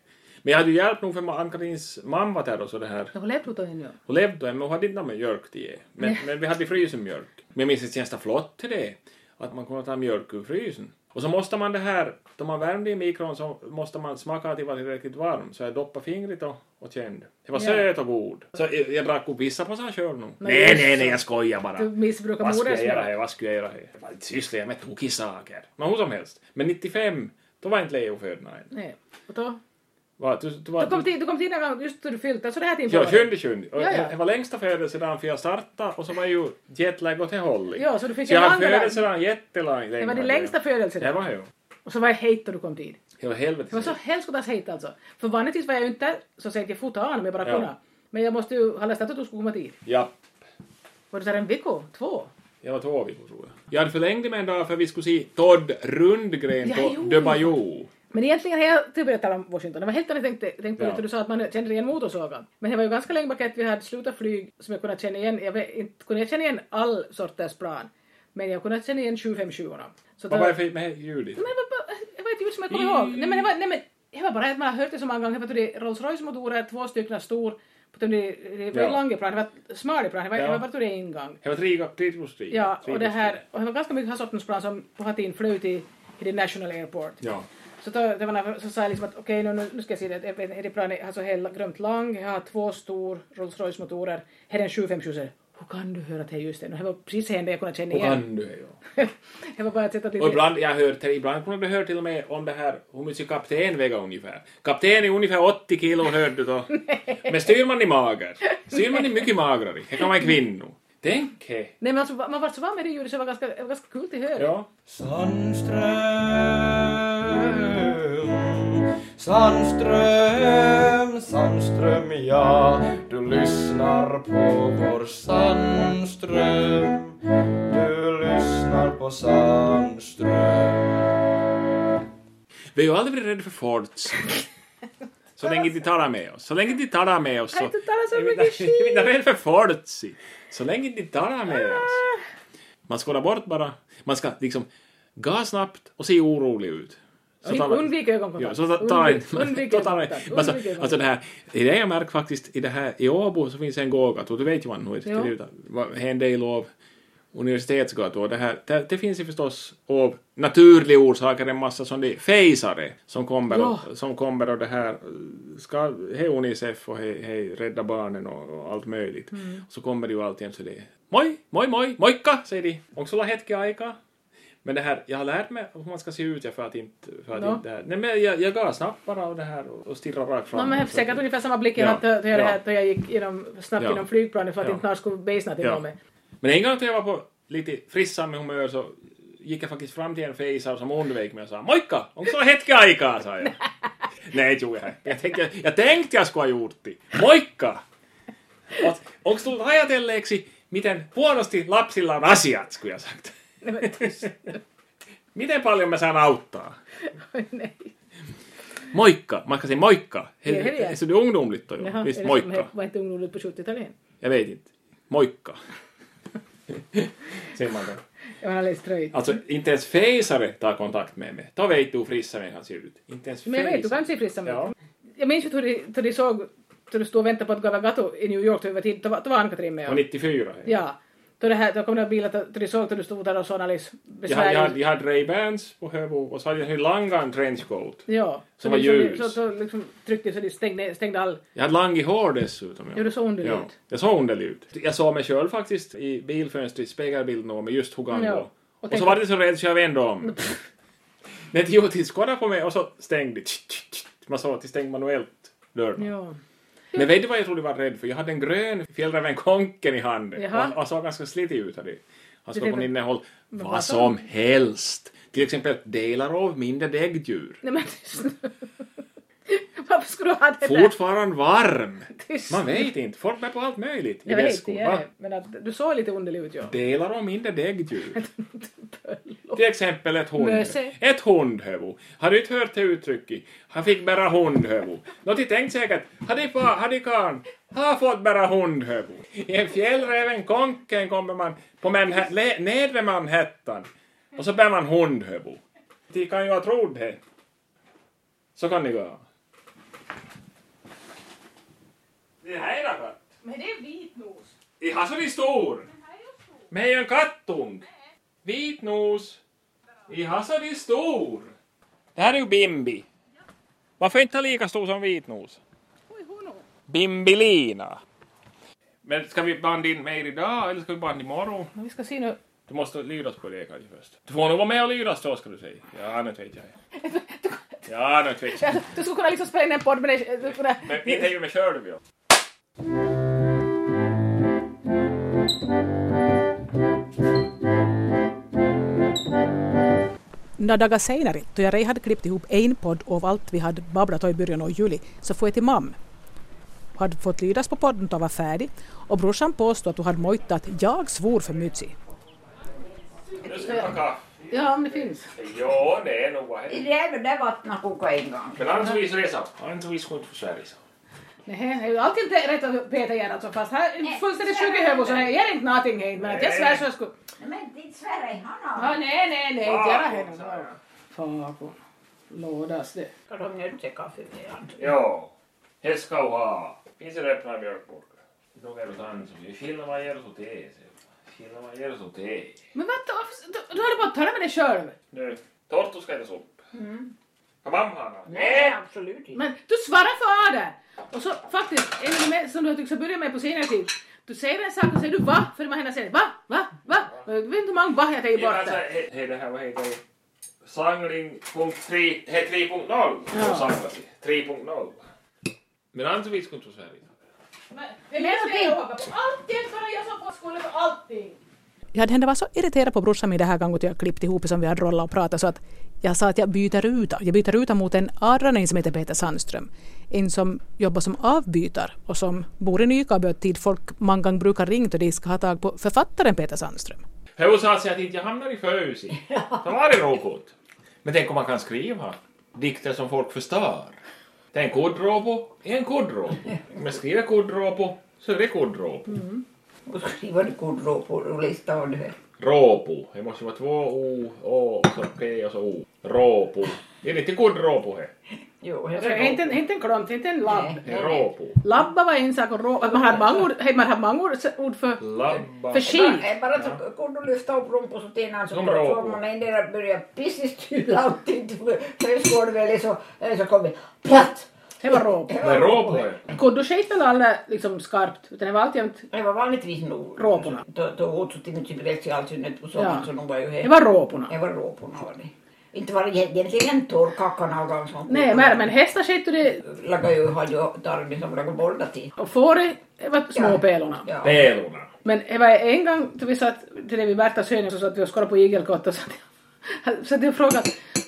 Speaker 1: Men jag hade ju hjälp nog för ma- Ann-Karins mamma där och så det här.
Speaker 2: Jag har levt utan henne.
Speaker 1: Hon levde då, men hon hade inte någon mjölk till ge. Men, men vi hade i frysen mjölk. Men jag minns att det känns det flott till det. Att man kunde ta mjölk ur frysen. Och så måste man det här, då man värmde i mikron så måste man smaka till var tillräckligt varm. Så jag doppade fingret och, och kände. Det var
Speaker 2: Ja.
Speaker 1: söt och god. Så jag, jag drack upp vissa på sig själv nu.
Speaker 2: Men
Speaker 1: Nej,
Speaker 2: just
Speaker 1: nej,
Speaker 2: så.
Speaker 1: nej, jag skojar bara.
Speaker 2: Du missbrukar
Speaker 1: Vad skulle jag göra
Speaker 2: modersmjölk.
Speaker 1: här? Vad skulle jag göra här? Jag bara, Sysslar jag med tokiga saker? Men hur som helst. Men 95, då var inte Leo född, nej.
Speaker 2: Nej. Och då?
Speaker 1: Va, du, du var,
Speaker 2: Du kom till, du kom till en gång just då du fyllt, alltså det här tiden på
Speaker 1: Ja,
Speaker 2: året.
Speaker 1: sjunde sjunde. Och
Speaker 2: Ja, ja.
Speaker 1: Det var längsta födelsedagen för jag startade och så var ju jetlag åt det hållet.
Speaker 2: Ja, så du fick
Speaker 1: så jag
Speaker 2: en
Speaker 1: hade
Speaker 2: lång dag.
Speaker 1: födelsedagen jättelång.
Speaker 2: Det var din längsta
Speaker 1: Det
Speaker 2: födelsedag.
Speaker 1: var ju.
Speaker 2: Och så var jag hejt då du kom dit.
Speaker 1: Det var
Speaker 2: Det var så
Speaker 1: helvete.
Speaker 2: helskotas hejt alltså. För vanligtvis var jag ju inte där, så sent jag fortfarande om jag bara
Speaker 1: Ja.
Speaker 2: kunde. Men jag måste ju ha läst att du skulle komma dit.
Speaker 1: Ja.
Speaker 2: Var du där en vecka? Två?
Speaker 1: Jag var två veckor tror jag. Jag hade förlängt det med en dag för vi skulle se Todd Rundgren
Speaker 2: Ja,
Speaker 1: på
Speaker 2: jo.
Speaker 1: Döbajo.
Speaker 2: Men egentligen har jag typ börjat tala om Washington. Det var helt annat jag tänkte, tänkte på
Speaker 1: Ja.
Speaker 2: det. Du sa att man kände igen motorsågen. Men det var ju ganska länge bak att vi hade slutat flyg som jag kunde känna igen. Jag vet, inte kunde jag känna igen all sorters plan. Men jag kunde känna igen 757 orna Så
Speaker 1: Vad
Speaker 2: då-
Speaker 1: var det för med ljudet?
Speaker 2: Men det var bara, det var ett ljud som jag kommer ihåg. Nej men det var, nej, men det var bara att man har hört det så många gånger. Det var det Rolls Royce motorer, två stycken stor. Det det var
Speaker 1: Ja.
Speaker 2: långa plan, det var smala plan, det var,
Speaker 1: Ja.
Speaker 2: det var bara det en gång.
Speaker 1: Det var tre trigostriga.
Speaker 2: Ja, och det här, och det var ganska mycket den här sortens plan som på Hatin flöt i, i det National Airport.
Speaker 1: Ja.
Speaker 2: Så, då, det var när, så sa jag liksom att okej, nu- nu, nu ska jag se det. Jag vet inte, Är det planet alltså, helt grömt lång? Jag har två stor Rolls Royce motorer. Här är en 757. Så jag, Hur kan du höra att det är just det? Och Det var precis det enda jag kunde känna
Speaker 1: Och
Speaker 2: igen.
Speaker 1: kan du är ja.
Speaker 2: det var bara ett sätt att
Speaker 1: Och
Speaker 2: lite...
Speaker 1: ibland, jag hör, till- ibland kunde du höra till och med om det här hur mycket kapten väger ungefär. Kapten är ungefär 80 kilo hörde du då. Men styrman är mager. Styrman är mycket magrare. Det kan vara en kvinna. Tänk he.
Speaker 2: Nej men alltså, man var så van med det ljudet så det var ganska, det var ganska kul att höra.
Speaker 1: Ja.
Speaker 3: Sandström, Sandström, Sandström, ja, du lyssnar på vår Sandström. Du lyssnar på Sandström.
Speaker 1: Vi är ju aldrig varit rädda för forts. Så länge de talar med oss. Så länge de talar med oss så...
Speaker 2: Inte tala så
Speaker 1: Jag vet
Speaker 2: mycket
Speaker 1: inte- Jag vet
Speaker 2: skit! Ah.
Speaker 1: inte rädd för forts. Så länge de talar med oss. Man ska hålla bort bara. Man ska liksom gå snabbt och se orolig ut. Så
Speaker 2: Undvik-
Speaker 1: talar-
Speaker 2: Undvik
Speaker 1: Ja,
Speaker 2: ögonkontakt.
Speaker 1: så tar
Speaker 2: Undvik-
Speaker 1: inte... man-
Speaker 2: undvik
Speaker 1: då tar man-
Speaker 2: ögonkontakt.
Speaker 1: Alltså,
Speaker 2: Undvik ögonkontakt.
Speaker 1: alltså det här, i det jag märker faktiskt i det här, i Åbo så finns en gågata, du vet ju vad nu är det
Speaker 2: Ja.
Speaker 1: till ytan. Vad- en del av universitetsgator. och Det, här, det, det finns ju förstås av naturliga orsaker en massa niin som det är fejsare som kommer,
Speaker 2: Ja.
Speaker 1: och, som kommer och det här eh, ska, hej Unicef och hej, hej Rädda Barnen och, och allt möjligt. Så kommer det ju alltid så det är moi, moi, moi, moikka, säger de. Och så la hetki aika. Men det här, jag har lärt mig hur man ska se ut, jag för att inte... För att
Speaker 2: Ja.
Speaker 1: inte det här. Nej, men jag, jag går snabbt bara av det här och, och stirrar rakt fram.
Speaker 2: No, men säkert ungefär samma blick jag
Speaker 1: Ja,
Speaker 2: hade då jag,
Speaker 1: ja.
Speaker 2: det här- då jag gick genom, snabbt
Speaker 1: Ja.
Speaker 2: genom flygplanet för att
Speaker 1: Ja.
Speaker 2: inte någon skulle bejsna till
Speaker 1: Ja.
Speaker 2: mig.
Speaker 1: Men en gång när jag var på lite frissamme humör så gick jag faktiskt fram till en fejsare som undvek mig och sa Moikka! Onko sulla hetki aikaa? sa jag. Nej, tog jag. Jag tänkte jag, tänkte jag skulle ha gjort det. Moikka! Och- Onko tullut ajatelleeksi, miten huonosti lapsilla on asiat, skulle jag sagt.
Speaker 2: Nej, men tyst.
Speaker 1: Miten paljon mä saan auttaa?
Speaker 2: Nej.
Speaker 1: Moikka! Man ska säga moikka.
Speaker 2: Ja, hej igen.
Speaker 1: Så det är ungdomligt då ju.
Speaker 2: Jaha,
Speaker 1: Visst,
Speaker 2: är det som
Speaker 1: Siis moikka.
Speaker 2: he- Var inte ungdomligt på 70-talet?
Speaker 1: Jag vet inte. Moikka. Säger man då.
Speaker 2: Jag var alldeles tröjd.
Speaker 1: Alltså, inte ens fejsare tar kontakt med mig. Då vet du hur frissa människan ser ut. Inte ens
Speaker 2: Men jag vet, du
Speaker 1: fejsare.
Speaker 2: kan se frissan ut.
Speaker 1: Ja.
Speaker 2: Jag minns ju hur de- hur de såg, då du stod och väntade på att Gavagato i New York tog över tid. Då var då var Ann-Katrin med.
Speaker 1: Och
Speaker 2: och-
Speaker 1: 94. Ja.
Speaker 2: Ja. Då, det här, då kom det bilar, då de såg att du stod där och sådana liksom
Speaker 1: Jag, hade- jag,
Speaker 2: besvärliga...
Speaker 1: hade- jag hade Ray-Bans på Höbo och så hade jag en Langan trenchcoat.
Speaker 2: Ja.
Speaker 1: Som
Speaker 2: Så
Speaker 1: var
Speaker 2: liksom-
Speaker 1: ljus.
Speaker 2: Så, så liksom tryckte så de stängde, stängde all...
Speaker 1: Jag hade lang i hår dessutom. Ja.
Speaker 2: Gjorde så underligt.
Speaker 1: Ja, jag såg underlig ut. Jag såg mig själv faktiskt i bilfönstret, spegelbilden av mig, just hur gammal
Speaker 2: Ja.
Speaker 1: jag var.
Speaker 2: Och
Speaker 1: Och så
Speaker 2: tänk-
Speaker 1: var det så rädd så jag vände om. När Tiotin skådade på mig och så stängde det. Man såg att det stängde manuellt dörren.
Speaker 2: Ja.
Speaker 1: Men vet du vad jag trodde jag var rädd för? Jag hade en grön Fjällräven Konken i handen
Speaker 2: Jaha.
Speaker 1: och, och såg ganska slitig ut. Hade. Han
Speaker 2: Det
Speaker 1: såg
Speaker 2: är
Speaker 1: på
Speaker 2: väl-
Speaker 1: innehåll
Speaker 2: vad
Speaker 1: vad
Speaker 2: sa
Speaker 1: som helst. Till exempel delar av mindre däggdjur.
Speaker 2: Nej men... varför skulle du ha det där?
Speaker 1: Fortfarande varm.
Speaker 2: Tyst.
Speaker 1: Man vet inte. Folk bär på allt möjligt i
Speaker 2: Jag vet,
Speaker 1: väskor.
Speaker 2: jag
Speaker 1: Va?
Speaker 2: vet. Men att, du såg lite underlig ut, ja.
Speaker 1: Delar om inte däggdjur. Till exempel ett hund.
Speaker 2: Möse.
Speaker 1: Ett hundhövo. Har du inte hört det uttrycket? Han fick bära hundhövo. Nå, de tänkte säkert, har de far, har de karn, har fått bära hundhövo. I en fjällräven konken kommer man på Manha- le- nedre Manhattan och så bär man hundhövo. De kan ju ha trott det. Så kan det gå. Det här är något.
Speaker 2: Men det är vitnos.
Speaker 1: Ihan så är stor. Meidän kattung. Vitnos. Ihan så är stor. Det här är ju Bimbi. Varför inte lika stor som vitnos?
Speaker 2: Oj, hono.
Speaker 1: Bimbilina. Men ska vi banda in mer idag eller ska vi banda imorgon?
Speaker 2: Men vi ska se nu.
Speaker 1: Du måste lydas på det kanske först. Du får nog vara med och lydas då ska du säga. Ja, nu vet jag. Ja, nu vet jag.
Speaker 2: Du skulle kunna liksom spela in en podd men det- du kunna...
Speaker 1: Men inte ju med själv ju.
Speaker 4: Några dagar senare, då jag redan hade klippt ihop en podd av allt vi hade babblat om i början av juli, så får jag till mamma. Hon hade fått lydas på podden då jag var färdig och brorsan påstod att hon hade mojtat att jag svor för mycket.
Speaker 1: Nu ska vi ha kaffe.
Speaker 2: Ja, om det finns.
Speaker 1: Ja, det är nog vad
Speaker 7: I det även där vattnet kokar en gång.
Speaker 1: Men annars vis resa. Annars vis går inte för Sverige. så.
Speaker 2: Nej, det är ju alltid inte rätt att peta igen alltså fast här är fullständigt sjuk i huvudet så här gör inte någonting hit men att jag svär så jag skulle...
Speaker 7: Men ditt Sverige har
Speaker 2: Ja,
Speaker 7: något.
Speaker 2: nej, nej, nej, inte göra henne. Fakon. Lådas det.
Speaker 7: Ska de mjölka kaffe med allt?
Speaker 1: Joo. Heskauhaa. Itse reppää Björkburg. Nukerot ansuja. Sillä vaan Jersu tee se. Sillä vaan Jersu tee.
Speaker 2: Men vänta, varför- du, du håller på att tala med dig själv.
Speaker 1: Nyt. Torttuskeita suppi. Mm. Mamma
Speaker 7: Nej, absolut inte.
Speaker 2: Men du svarar för Ada! Och så faktiskt, en av de mer- som du tycks ha börjat med på senare tid. Du säger en sak och säger du va? För det var hennes säger va? Va? Va? Jag vet inte hur många va jag tagit
Speaker 1: Ja,
Speaker 2: bort
Speaker 1: alltså,
Speaker 2: där.
Speaker 1: he, he, det här, vad heter det? Sangling.3, he 3.0. Ja. Sanglasi. 3.0. Men annars vis går inte för Sverige.
Speaker 2: Men det är just det jag jobbar på. Alltid bara jag som får skulden för allting.
Speaker 4: Jag hade hände var så irriterad på brorsan min det här gången att jag klippte ihop som vi hade rollat och pratat så att jag sa att jag byter ruta. Jag byter ruta mot en arraning som heter Peter Sandström. En som jobbar som avbytare och som bor i Nykabi och tid folk många gånger brukar ringa och de ska ha tag på författaren Peter Sandström.
Speaker 1: Hon sa sig att inte jag hamnar i fösi. Det var det något. Men tänk om man kan skriva dikter som folk förstår. Det är en kodråpo, är en kodråpo. Om jag skriver kodråpo så är det kodråpo.
Speaker 7: Och skriva det kodråpor och lista av det.
Speaker 1: Råpo. Det måste vara två o, å och så p och så o. Råpo. Det är inte kodråpo här.
Speaker 7: Jo,
Speaker 2: Alltså, inte, en- inte en klont, inte en labb.
Speaker 1: Det är råpo.
Speaker 2: Labba var en sak och rå... Man har många ord, hej, man har många ord, ord för,
Speaker 1: Labba.
Speaker 2: för skit.
Speaker 7: Bara, bara så kunde du lyfta upp rumpan så alltså, tinnan så
Speaker 1: Som
Speaker 7: så
Speaker 1: råpor.
Speaker 7: man endera börjar pissestyla allting till högskådväl eller så, eller så kommer platt.
Speaker 2: Det var rå.
Speaker 1: Det är råpo här.
Speaker 2: Koddo sket väl alla liksom skarpt, utan det var alltjämt...
Speaker 7: Det var vanligtvis nog.
Speaker 2: Råporna.
Speaker 7: Då, då åt så till mycket direkt i all synnerhet på sommaren
Speaker 2: Ja.
Speaker 7: så de var ju
Speaker 2: Det
Speaker 7: helt...
Speaker 2: var råporna.
Speaker 7: Det var råporna var det. Inte var det egentligen torrkackan av dem som...
Speaker 2: Nej, men, men hästar sket och det...
Speaker 7: Lagade ju, hade ju tarmen som lagade bollar till.
Speaker 2: Och fåret, det var småpelorna.
Speaker 7: Ja.
Speaker 1: Pelorna.
Speaker 2: Men det var en gång då vi satt bredvid Bertas hörn så satt vi och skålade på igelkott och satt, satt jag och frågade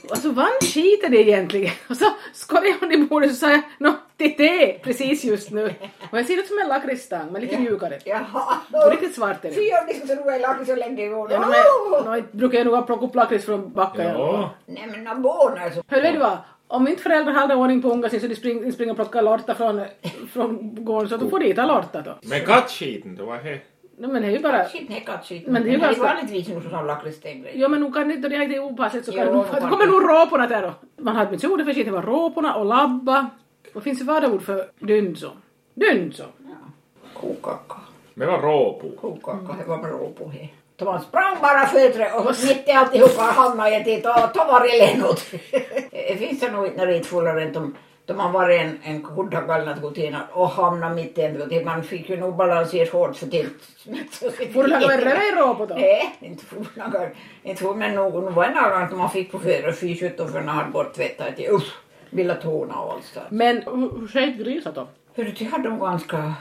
Speaker 2: alltså vann skiten det egentligen? Och så skålade hon i bordet och så sa jag nå det är det precis just nu. Och jag ser ut som en lakritsstang men lite mjukare.
Speaker 7: Jaha.
Speaker 2: Och riktigt svart är det.
Speaker 7: Fy om ni skulle roa i lakrits så länge i går.
Speaker 2: Ja,
Speaker 7: Åh!
Speaker 2: men, no, brukar jag nog plocka upp lakrits från backen.
Speaker 1: Ja.
Speaker 7: Nej men någon barn alltså.
Speaker 2: Hör du vad? Om inte föräldrar hade ordning på ungar så de spring- de springer och plockar lorta från, från gården så då får de äta lorta då.
Speaker 1: Men kattskiten, det var det.
Speaker 2: No, men det är ju bara...
Speaker 7: Shit, nej kattskit.
Speaker 2: Men det är ju ganska-
Speaker 7: vanligtvis nog som lakritstänger.
Speaker 2: Jo men nog kan det, då det här är opassligt så kan
Speaker 7: Jo,
Speaker 2: nog,
Speaker 7: varför?
Speaker 2: då kommer nog råporna där då. Man hade metoder för shit, det var råporna och labba. Vad finns det värda ord för dynso? Dynso?
Speaker 7: Kokaka.
Speaker 1: Men det var råpo.
Speaker 7: Kokaka, det var bra på det. Så man sprang bara före och mitt i alltihopa hamnade jag till ta, ta var i lenot. Det finns det nog inte när det är fullare än de, de har varit en, en kodda galna skotena och hamnat mitt i en skotina. Man fick ju nog balansera hårt för till
Speaker 2: Får du laga en röv i råpo då?
Speaker 7: Nej, inte for någon. Inte for men någon. Det var en annan som man fick på före fy sjutton för när han borttvättat det. Usch, ville tårna och allt så.
Speaker 2: Men hur hur sket grisat då?
Speaker 7: Hörru, det hade de ganska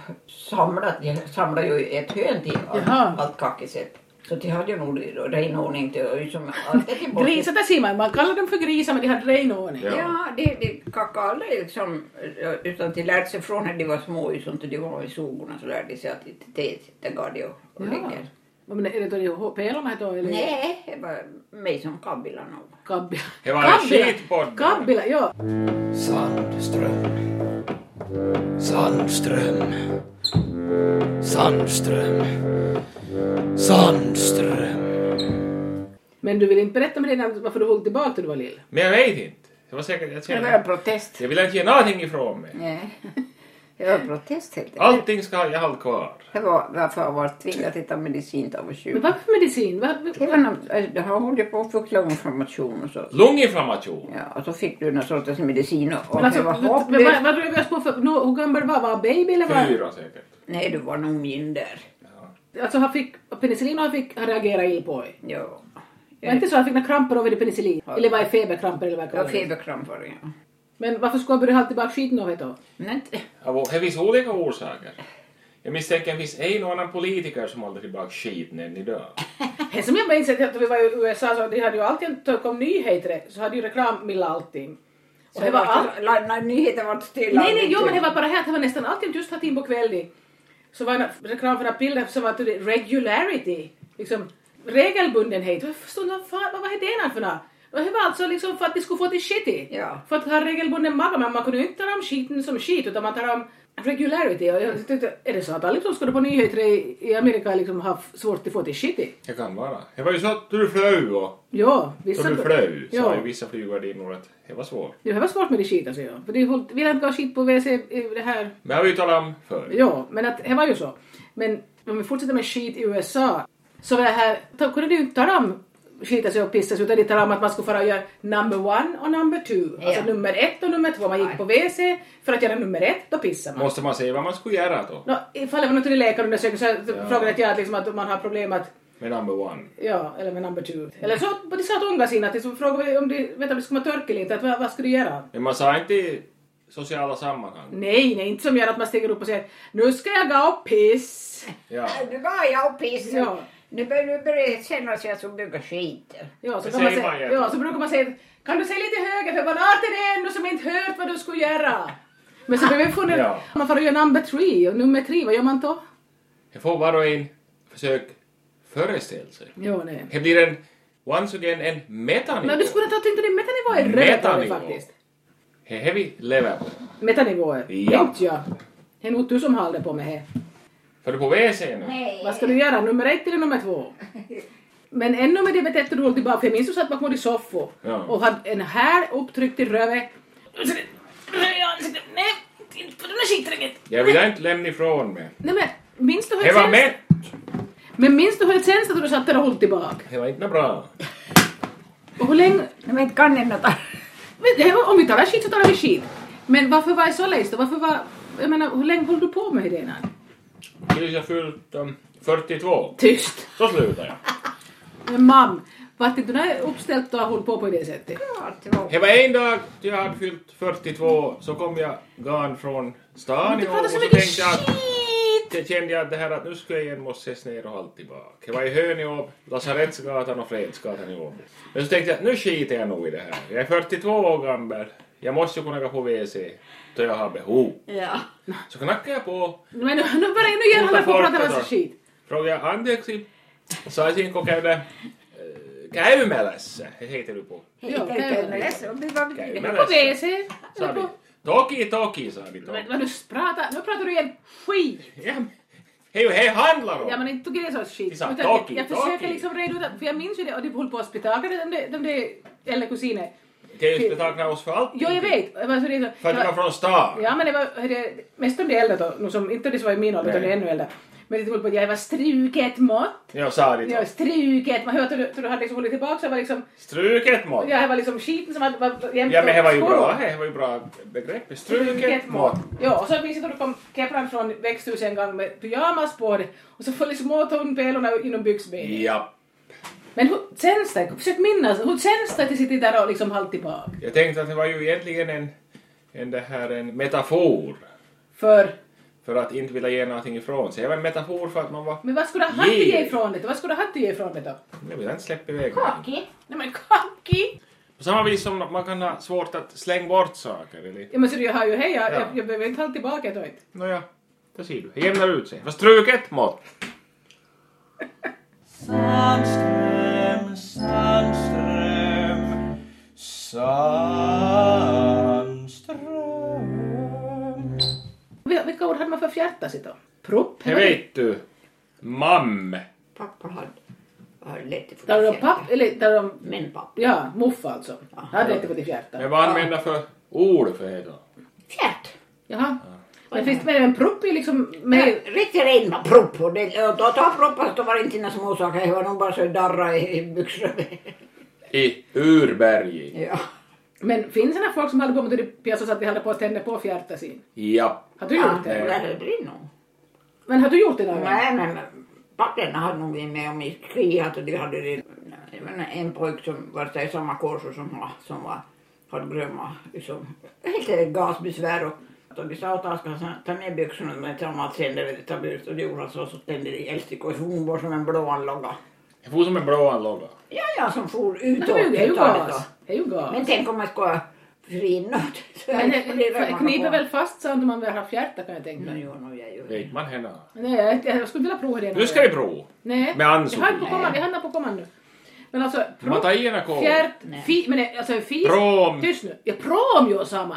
Speaker 7: samlat. De samlade ju ett hön till allt,
Speaker 2: Jaha.
Speaker 7: allt kakiset. Så de hade ju nog renordning till som alltid till botten.
Speaker 2: Grisar, där ser man. Man kallar dem för grisar men de hade renordning.
Speaker 1: Ja.
Speaker 7: Ja, de, de kackade aldrig liksom, eh, utan de lärde sig från när de var små, ju sånt, de var i sugorna så lärde de sig att inte te, där går de och, och
Speaker 2: Ja.
Speaker 7: ligger.
Speaker 2: Vad menar, är det då de hå- pelarna då? Eller?
Speaker 7: Nej, det var mig som kabbila nog.
Speaker 2: Kabbila.
Speaker 1: Det var en skitpodd.
Speaker 2: Kabbila, ja.
Speaker 3: Sandström. Sandström. Sandström. Sandström.
Speaker 2: Men du vill inte berätta med dina, varför du höll tillbaka när du var lill?
Speaker 1: Men jag vet inte. Det var säkert... Jag,
Speaker 7: Det var en
Speaker 1: känner,
Speaker 7: protest.
Speaker 1: jag vill inte ge någonting ifrån mig.
Speaker 7: Nej, det var en protest helt enkelt.
Speaker 1: Allting ska jag ha kvar.
Speaker 7: Det var varför jag var tvingad att ta medicin när jag var
Speaker 2: Men
Speaker 7: 20.
Speaker 2: varför för medicin? Var,
Speaker 7: Det var någon, eh, det här höll jag på att få lunginflammation och så.
Speaker 1: Lunginflammation.
Speaker 7: Ja, och så fick du någon sorts medicin och, och
Speaker 2: men alltså,
Speaker 7: det var
Speaker 2: men vad, vad,
Speaker 7: hopplöst.
Speaker 2: vad drog vi oss på för, no, hur gammal var Var baby eller var?
Speaker 1: Fyra säkert.
Speaker 7: Nej, du var nog mindre.
Speaker 2: Alltså han fick penicillin och han fick, han reagerade ill på det.
Speaker 7: Ja.
Speaker 2: Var inte så han fick några kramper över det penicillin?
Speaker 7: Ja.
Speaker 2: Eller var det feberkramper eller vad
Speaker 7: Jag
Speaker 2: kallar
Speaker 7: har
Speaker 2: det?
Speaker 7: feberkramp var det, ja.
Speaker 2: Men varför skulle han börja hålla tillbaka skiten av det då?
Speaker 7: Men inte-
Speaker 1: Av- Det finns olika orsaker. Jag misstänker att det finns en och annan politiker som håller tillbaka skiten än idag.
Speaker 2: Det som jag minns att vi var i USA så de hade ju alltid, när det kom nyheter så hade ju reklam milla allting. Och det var allt
Speaker 7: all... Nej, nyheten var stilla.
Speaker 2: Nej, nej, jo, men det var bara här att det var nästan alltid just här in på kvällen. Så var det reklam för bilder som var till det regularity, liksom regelbundenhet. Jag förstod inte, vad fan, vad var det där för något? Och det var alltså liksom för att de skulle få till shit i.
Speaker 7: Ja.
Speaker 2: För att ha regelbunden maga, men man kunde ju inte ta om skiten som skit utan man tar om regularity. Och jag tyckte, är det så att alla som skulle på nyheter i, i Amerika liksom har f- svårt att få till shit i?
Speaker 1: Det kan vara. Det var ju så att du flög och...
Speaker 2: Ja,
Speaker 1: Så
Speaker 2: vissa...
Speaker 1: du flög, sa
Speaker 2: Ja.
Speaker 1: ju vissa flygvärdinnor att det var svårt.
Speaker 2: Det var svårt med det skit alltså, ja. För det höll- ville inte ha skit på WC, i det här
Speaker 1: Men det har vi ju talat om förr.
Speaker 2: Ja, men att, det var ju så. Men om vi fortsätter med skit i USA så var det här, då kunde du ju inte tala om skita sig och pissa sig utan det talade om att man skulle fara och göra number one och number two. Alltså
Speaker 7: Ja.
Speaker 2: nummer ett och nummer två. Man gick på WC för att göra nummer ett, då pissar man.
Speaker 1: Måste man säga vad man skulle göra då?
Speaker 2: Nå, ifall det var något i läkarundersökningen så
Speaker 1: Ja.
Speaker 2: frågade jag att, liksom, att om man har problem att
Speaker 1: Med number one.
Speaker 2: Ja, eller med number two. Eller så de sa att ångas in att de frågade om det, vet du, om det skulle vara törkel inte, att vad, vad skulle du göra?
Speaker 1: Men man sa inte i sociala sammanhang.
Speaker 2: Nej, nej, inte som gör att man stiger upp och säger nu ska jag gå och piss.
Speaker 1: Ja.
Speaker 7: Nu var jag och pissade.
Speaker 2: Ja.
Speaker 7: Nu börjar börjar jag känna att jag ska bygga skit.
Speaker 2: Ja, så,
Speaker 1: Det
Speaker 2: kan man
Speaker 1: säger
Speaker 2: säga,
Speaker 1: man ju.
Speaker 2: ja, så brukar man säga kan du säga lite högre för vad art är det ännu som inte hört vad du skulle göra? Men så behöver vi fundera,
Speaker 1: Ja.
Speaker 2: man får göra number three och nummer tre, vad gör man då?
Speaker 1: Det får var och en försök föreställa sig.
Speaker 2: Jo, nej.
Speaker 1: Det blir en, once again, en metanivå.
Speaker 2: Men du skulle inte ha tänkt på din metanivå är röd
Speaker 1: Metanivå.
Speaker 2: faktiskt.
Speaker 1: Det är det vi lever på.
Speaker 2: Metanivåer,
Speaker 1: Ja.
Speaker 2: inte jag. Det är nog du som håller på med det.
Speaker 1: För du på WC nu?
Speaker 2: Vad ska du göra, nummer ett eller nummer två? Men ännu med det betet du rullade tillbaka, för jag minns du satt bakom i soffan
Speaker 1: Ja.
Speaker 2: och hade en här upptryckt i röven. Röv i ansiktet, nej, inte på den här skitringen.
Speaker 1: Jag vill inte lämna ifrån mig.
Speaker 2: Nej men, minns du hur
Speaker 1: Det var
Speaker 2: känns-
Speaker 1: mätt!
Speaker 2: Men minns du hur det känns när du satt där och höll tillbaka?
Speaker 1: Det var inte bra.
Speaker 2: Och hur länge...
Speaker 7: Nej, men inte kan jag något
Speaker 2: Men det här var- Om vi talar skit så talar vi skit. Men varför var jag så lejs då? Varför var... Jag menar, hur länge höll du på med det innan?
Speaker 1: Tills jag fyllt um, 42.
Speaker 2: Tyst!
Speaker 1: Så slutar jag.
Speaker 2: Men mam, vart inte du när uppställt och höll på på det sättet?
Speaker 7: annat.
Speaker 1: Det var en dag till jag hade fyllt 42 så kom jag gan från stan
Speaker 2: Du
Speaker 1: i Åbo
Speaker 2: pratar
Speaker 1: och
Speaker 2: så
Speaker 1: så
Speaker 2: mycket
Speaker 1: tänkte jag att
Speaker 2: skit!
Speaker 1: det kände jag att det här att nu skulle jag igen måste ses ner och halt tillbaka. Det var i Hönö, Lasarettsgatan och Fredsgatan i Åbo. Men så tänkte jag att nu skiter jag nog i det här. Jag är 42 år gammal. Jag måste ju kunna gå på WC då jag har behov.
Speaker 7: Ja.
Speaker 1: Så knackade jag på
Speaker 2: Men nu, nu börjar nu igen hålla på och prata massa skit.
Speaker 1: alltså. Fråga anteeksi, saisinko käydä äh, käymälässä? He heitely puhuu.
Speaker 2: Joo,
Speaker 7: Joo,
Speaker 2: käydään.
Speaker 1: Käymälä.
Speaker 2: På WC. eller
Speaker 1: Sami.
Speaker 2: på-
Speaker 1: Toki, toki, Sami, toki.
Speaker 2: Men vad du pratar... Nu pratar du igen skit!
Speaker 1: Ja, hej, hej, handlar
Speaker 2: Ja men
Speaker 1: om!
Speaker 2: inte tog det så skit.
Speaker 1: Vi sa
Speaker 2: Utan
Speaker 1: talkie,
Speaker 2: jag, jag
Speaker 1: talkie.
Speaker 2: försöker liksom reda ut, för jag minns ju det och de höll på att spetaga de, de, de, de eller kusiner.
Speaker 1: Det är ju betagna oss för allt.
Speaker 2: Jo jag vet. Jag var så redo.
Speaker 1: För att
Speaker 2: Jag
Speaker 1: du
Speaker 2: var-
Speaker 1: var från stan.
Speaker 2: Ja men det var hörde, jag, mest om de äldre då, nu som, inte de som var i min ålder utan de
Speaker 1: Nej.
Speaker 2: ännu äldre. Men det höll på att jag var struket mått.
Speaker 1: Jag sa det.
Speaker 2: Jag
Speaker 1: då.
Speaker 2: struket mått. Jag hörde att du hade liksom hållit tillbaka så jag var liksom,
Speaker 1: Struket mått.
Speaker 2: jag var liksom skiten som hade var jämt
Speaker 1: Ja, men det var ju
Speaker 2: skor.
Speaker 1: bra. Det var ju bra begrepp. Struket mått.
Speaker 2: Ja, och så minns jag att du kom käppran från växthuset en gång med pyjamas på dig och så följde små tunnpelorna inom byxbenet.
Speaker 1: Ja.
Speaker 2: Men hur känns det? Försök minnas. Hur känns det att sitta där och liksom halta tillbaka?
Speaker 1: Jag tänkte att det var ju egentligen en, en, det här, en metafor
Speaker 2: För
Speaker 1: för att inte vilja ge någonting ifrån sig. Det var en metafor för att man var...
Speaker 2: Men vad skulle han yeah.
Speaker 1: Yeah.
Speaker 2: ge ifrån det? Vad skulle han ge ifrån det då?
Speaker 1: Jag vill inte släppa iväg någonting.
Speaker 7: Kaki.
Speaker 2: Nej men kaki!
Speaker 1: På samma vis som man kan ha svårt att slänga bort saker. Eller...
Speaker 2: Ja men så jag har ju hej,
Speaker 1: Ja.
Speaker 2: jag, jag, jag behöver inte hålla tillbaka då inte.
Speaker 1: Nåja, det ser du. Det jämnar ut sig. Fast struket mått.
Speaker 3: Sandström, Sandström, Sandström.
Speaker 2: Vil- Vilka ord hade man för fjärta sitt då? Propp?
Speaker 1: Det vet du. Mam.
Speaker 7: Pappa hade, hade lätt att få
Speaker 2: Talar du om
Speaker 7: fjärta.
Speaker 2: papp eller talar du om...
Speaker 7: Min pappa.
Speaker 2: Ja, muffa alltså. Han hade inte gått i fjärta.
Speaker 1: Men vad använder för ord för det då?
Speaker 7: Fjärt.
Speaker 2: Jaha. Men finns det mer än propp är liksom mer...
Speaker 7: Riktigt rena proppor. Det- och Då tar proppar så var det inte några småsaker. Det var nog bara så darra i, i byxorna.
Speaker 1: I urberg.
Speaker 7: Ja.
Speaker 2: Men finns det några folk som håller på med det pjäser så att de håller på att tända på fjärta sin?
Speaker 1: Ja.
Speaker 2: Har du
Speaker 7: Ja,
Speaker 2: gjort det?
Speaker 7: där är det nog.
Speaker 2: Men har du gjort det någon gång?
Speaker 7: Nej, men papporna hade nog varit med om i kriget och de hade det. Jag menar, en pojke som var så i samma kurs som, var- som var, hade gröna, liksom, helt enkelt gasbesvär och, och de sa åt Aska att ta ner byxorna men ta mat sen, det var lite tabut och det gjorde han så, så tände de eldstickor och hon var som en blåan logga.
Speaker 1: Det får som en blå logga.
Speaker 7: Ja, ja, som for
Speaker 2: Men
Speaker 7: utåt.
Speaker 2: det är ju- det är ju
Speaker 7: utåt.
Speaker 2: gas. Det är ju gas.
Speaker 7: Men tänk om man ska förinåt.
Speaker 2: Men det kniper väl fast så om man vill ha fjärta kan jag tänka mig.
Speaker 7: Jo, no, jag gör det.
Speaker 1: Vet man henne?
Speaker 2: Nej, jag, inte- jag skulle vilja prova det. någon
Speaker 1: Mm, Nu ska
Speaker 2: gång.
Speaker 1: vi prova.
Speaker 2: Nej.
Speaker 1: med
Speaker 2: Vi
Speaker 1: Ann-Sofie.
Speaker 2: har på kommande, vi hamnar på kommando. Men alltså,
Speaker 1: Man tar i ena kåren.
Speaker 2: fjärt, fi, men det- alltså fis...
Speaker 1: Prom.
Speaker 2: Tyst nu. Ja, prom ju samma.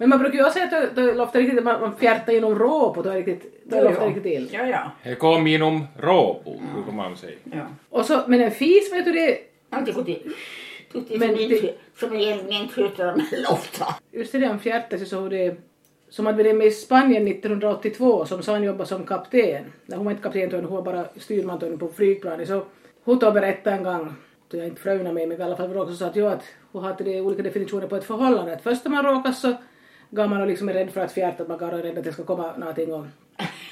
Speaker 2: Men man brukar ju också säga att det är ofta riktigt att man, man fjärtar genom råpor, då är riktigt, då är det ofta riktigt illa.
Speaker 7: Ja, ja.
Speaker 1: Det kom genom Råbo, brukar man säga.
Speaker 7: ja.
Speaker 2: Och så, men en fis vet du det,
Speaker 7: Alltid gått i. Tyckte
Speaker 2: Men
Speaker 7: som
Speaker 2: det-
Speaker 7: inte, som egentligen sköter mig ofta.
Speaker 2: just det där om fjärtar så såg det som hade varit med i Spanien 1982 som San jobbade som kapten. Nej, hon var inte kapten, utan hon var bara styrman utan på flygplanet. Så hon tog och berättade en gång, så jag inte fröjna mig, men i alla fall råkade så sa att, jo, att hon hade det olika definitioner på ett förhållande. Att först när man råkar så går man och liksom är rädd för att fjärta, att man går och är rädd att det ska komma någonting. Och,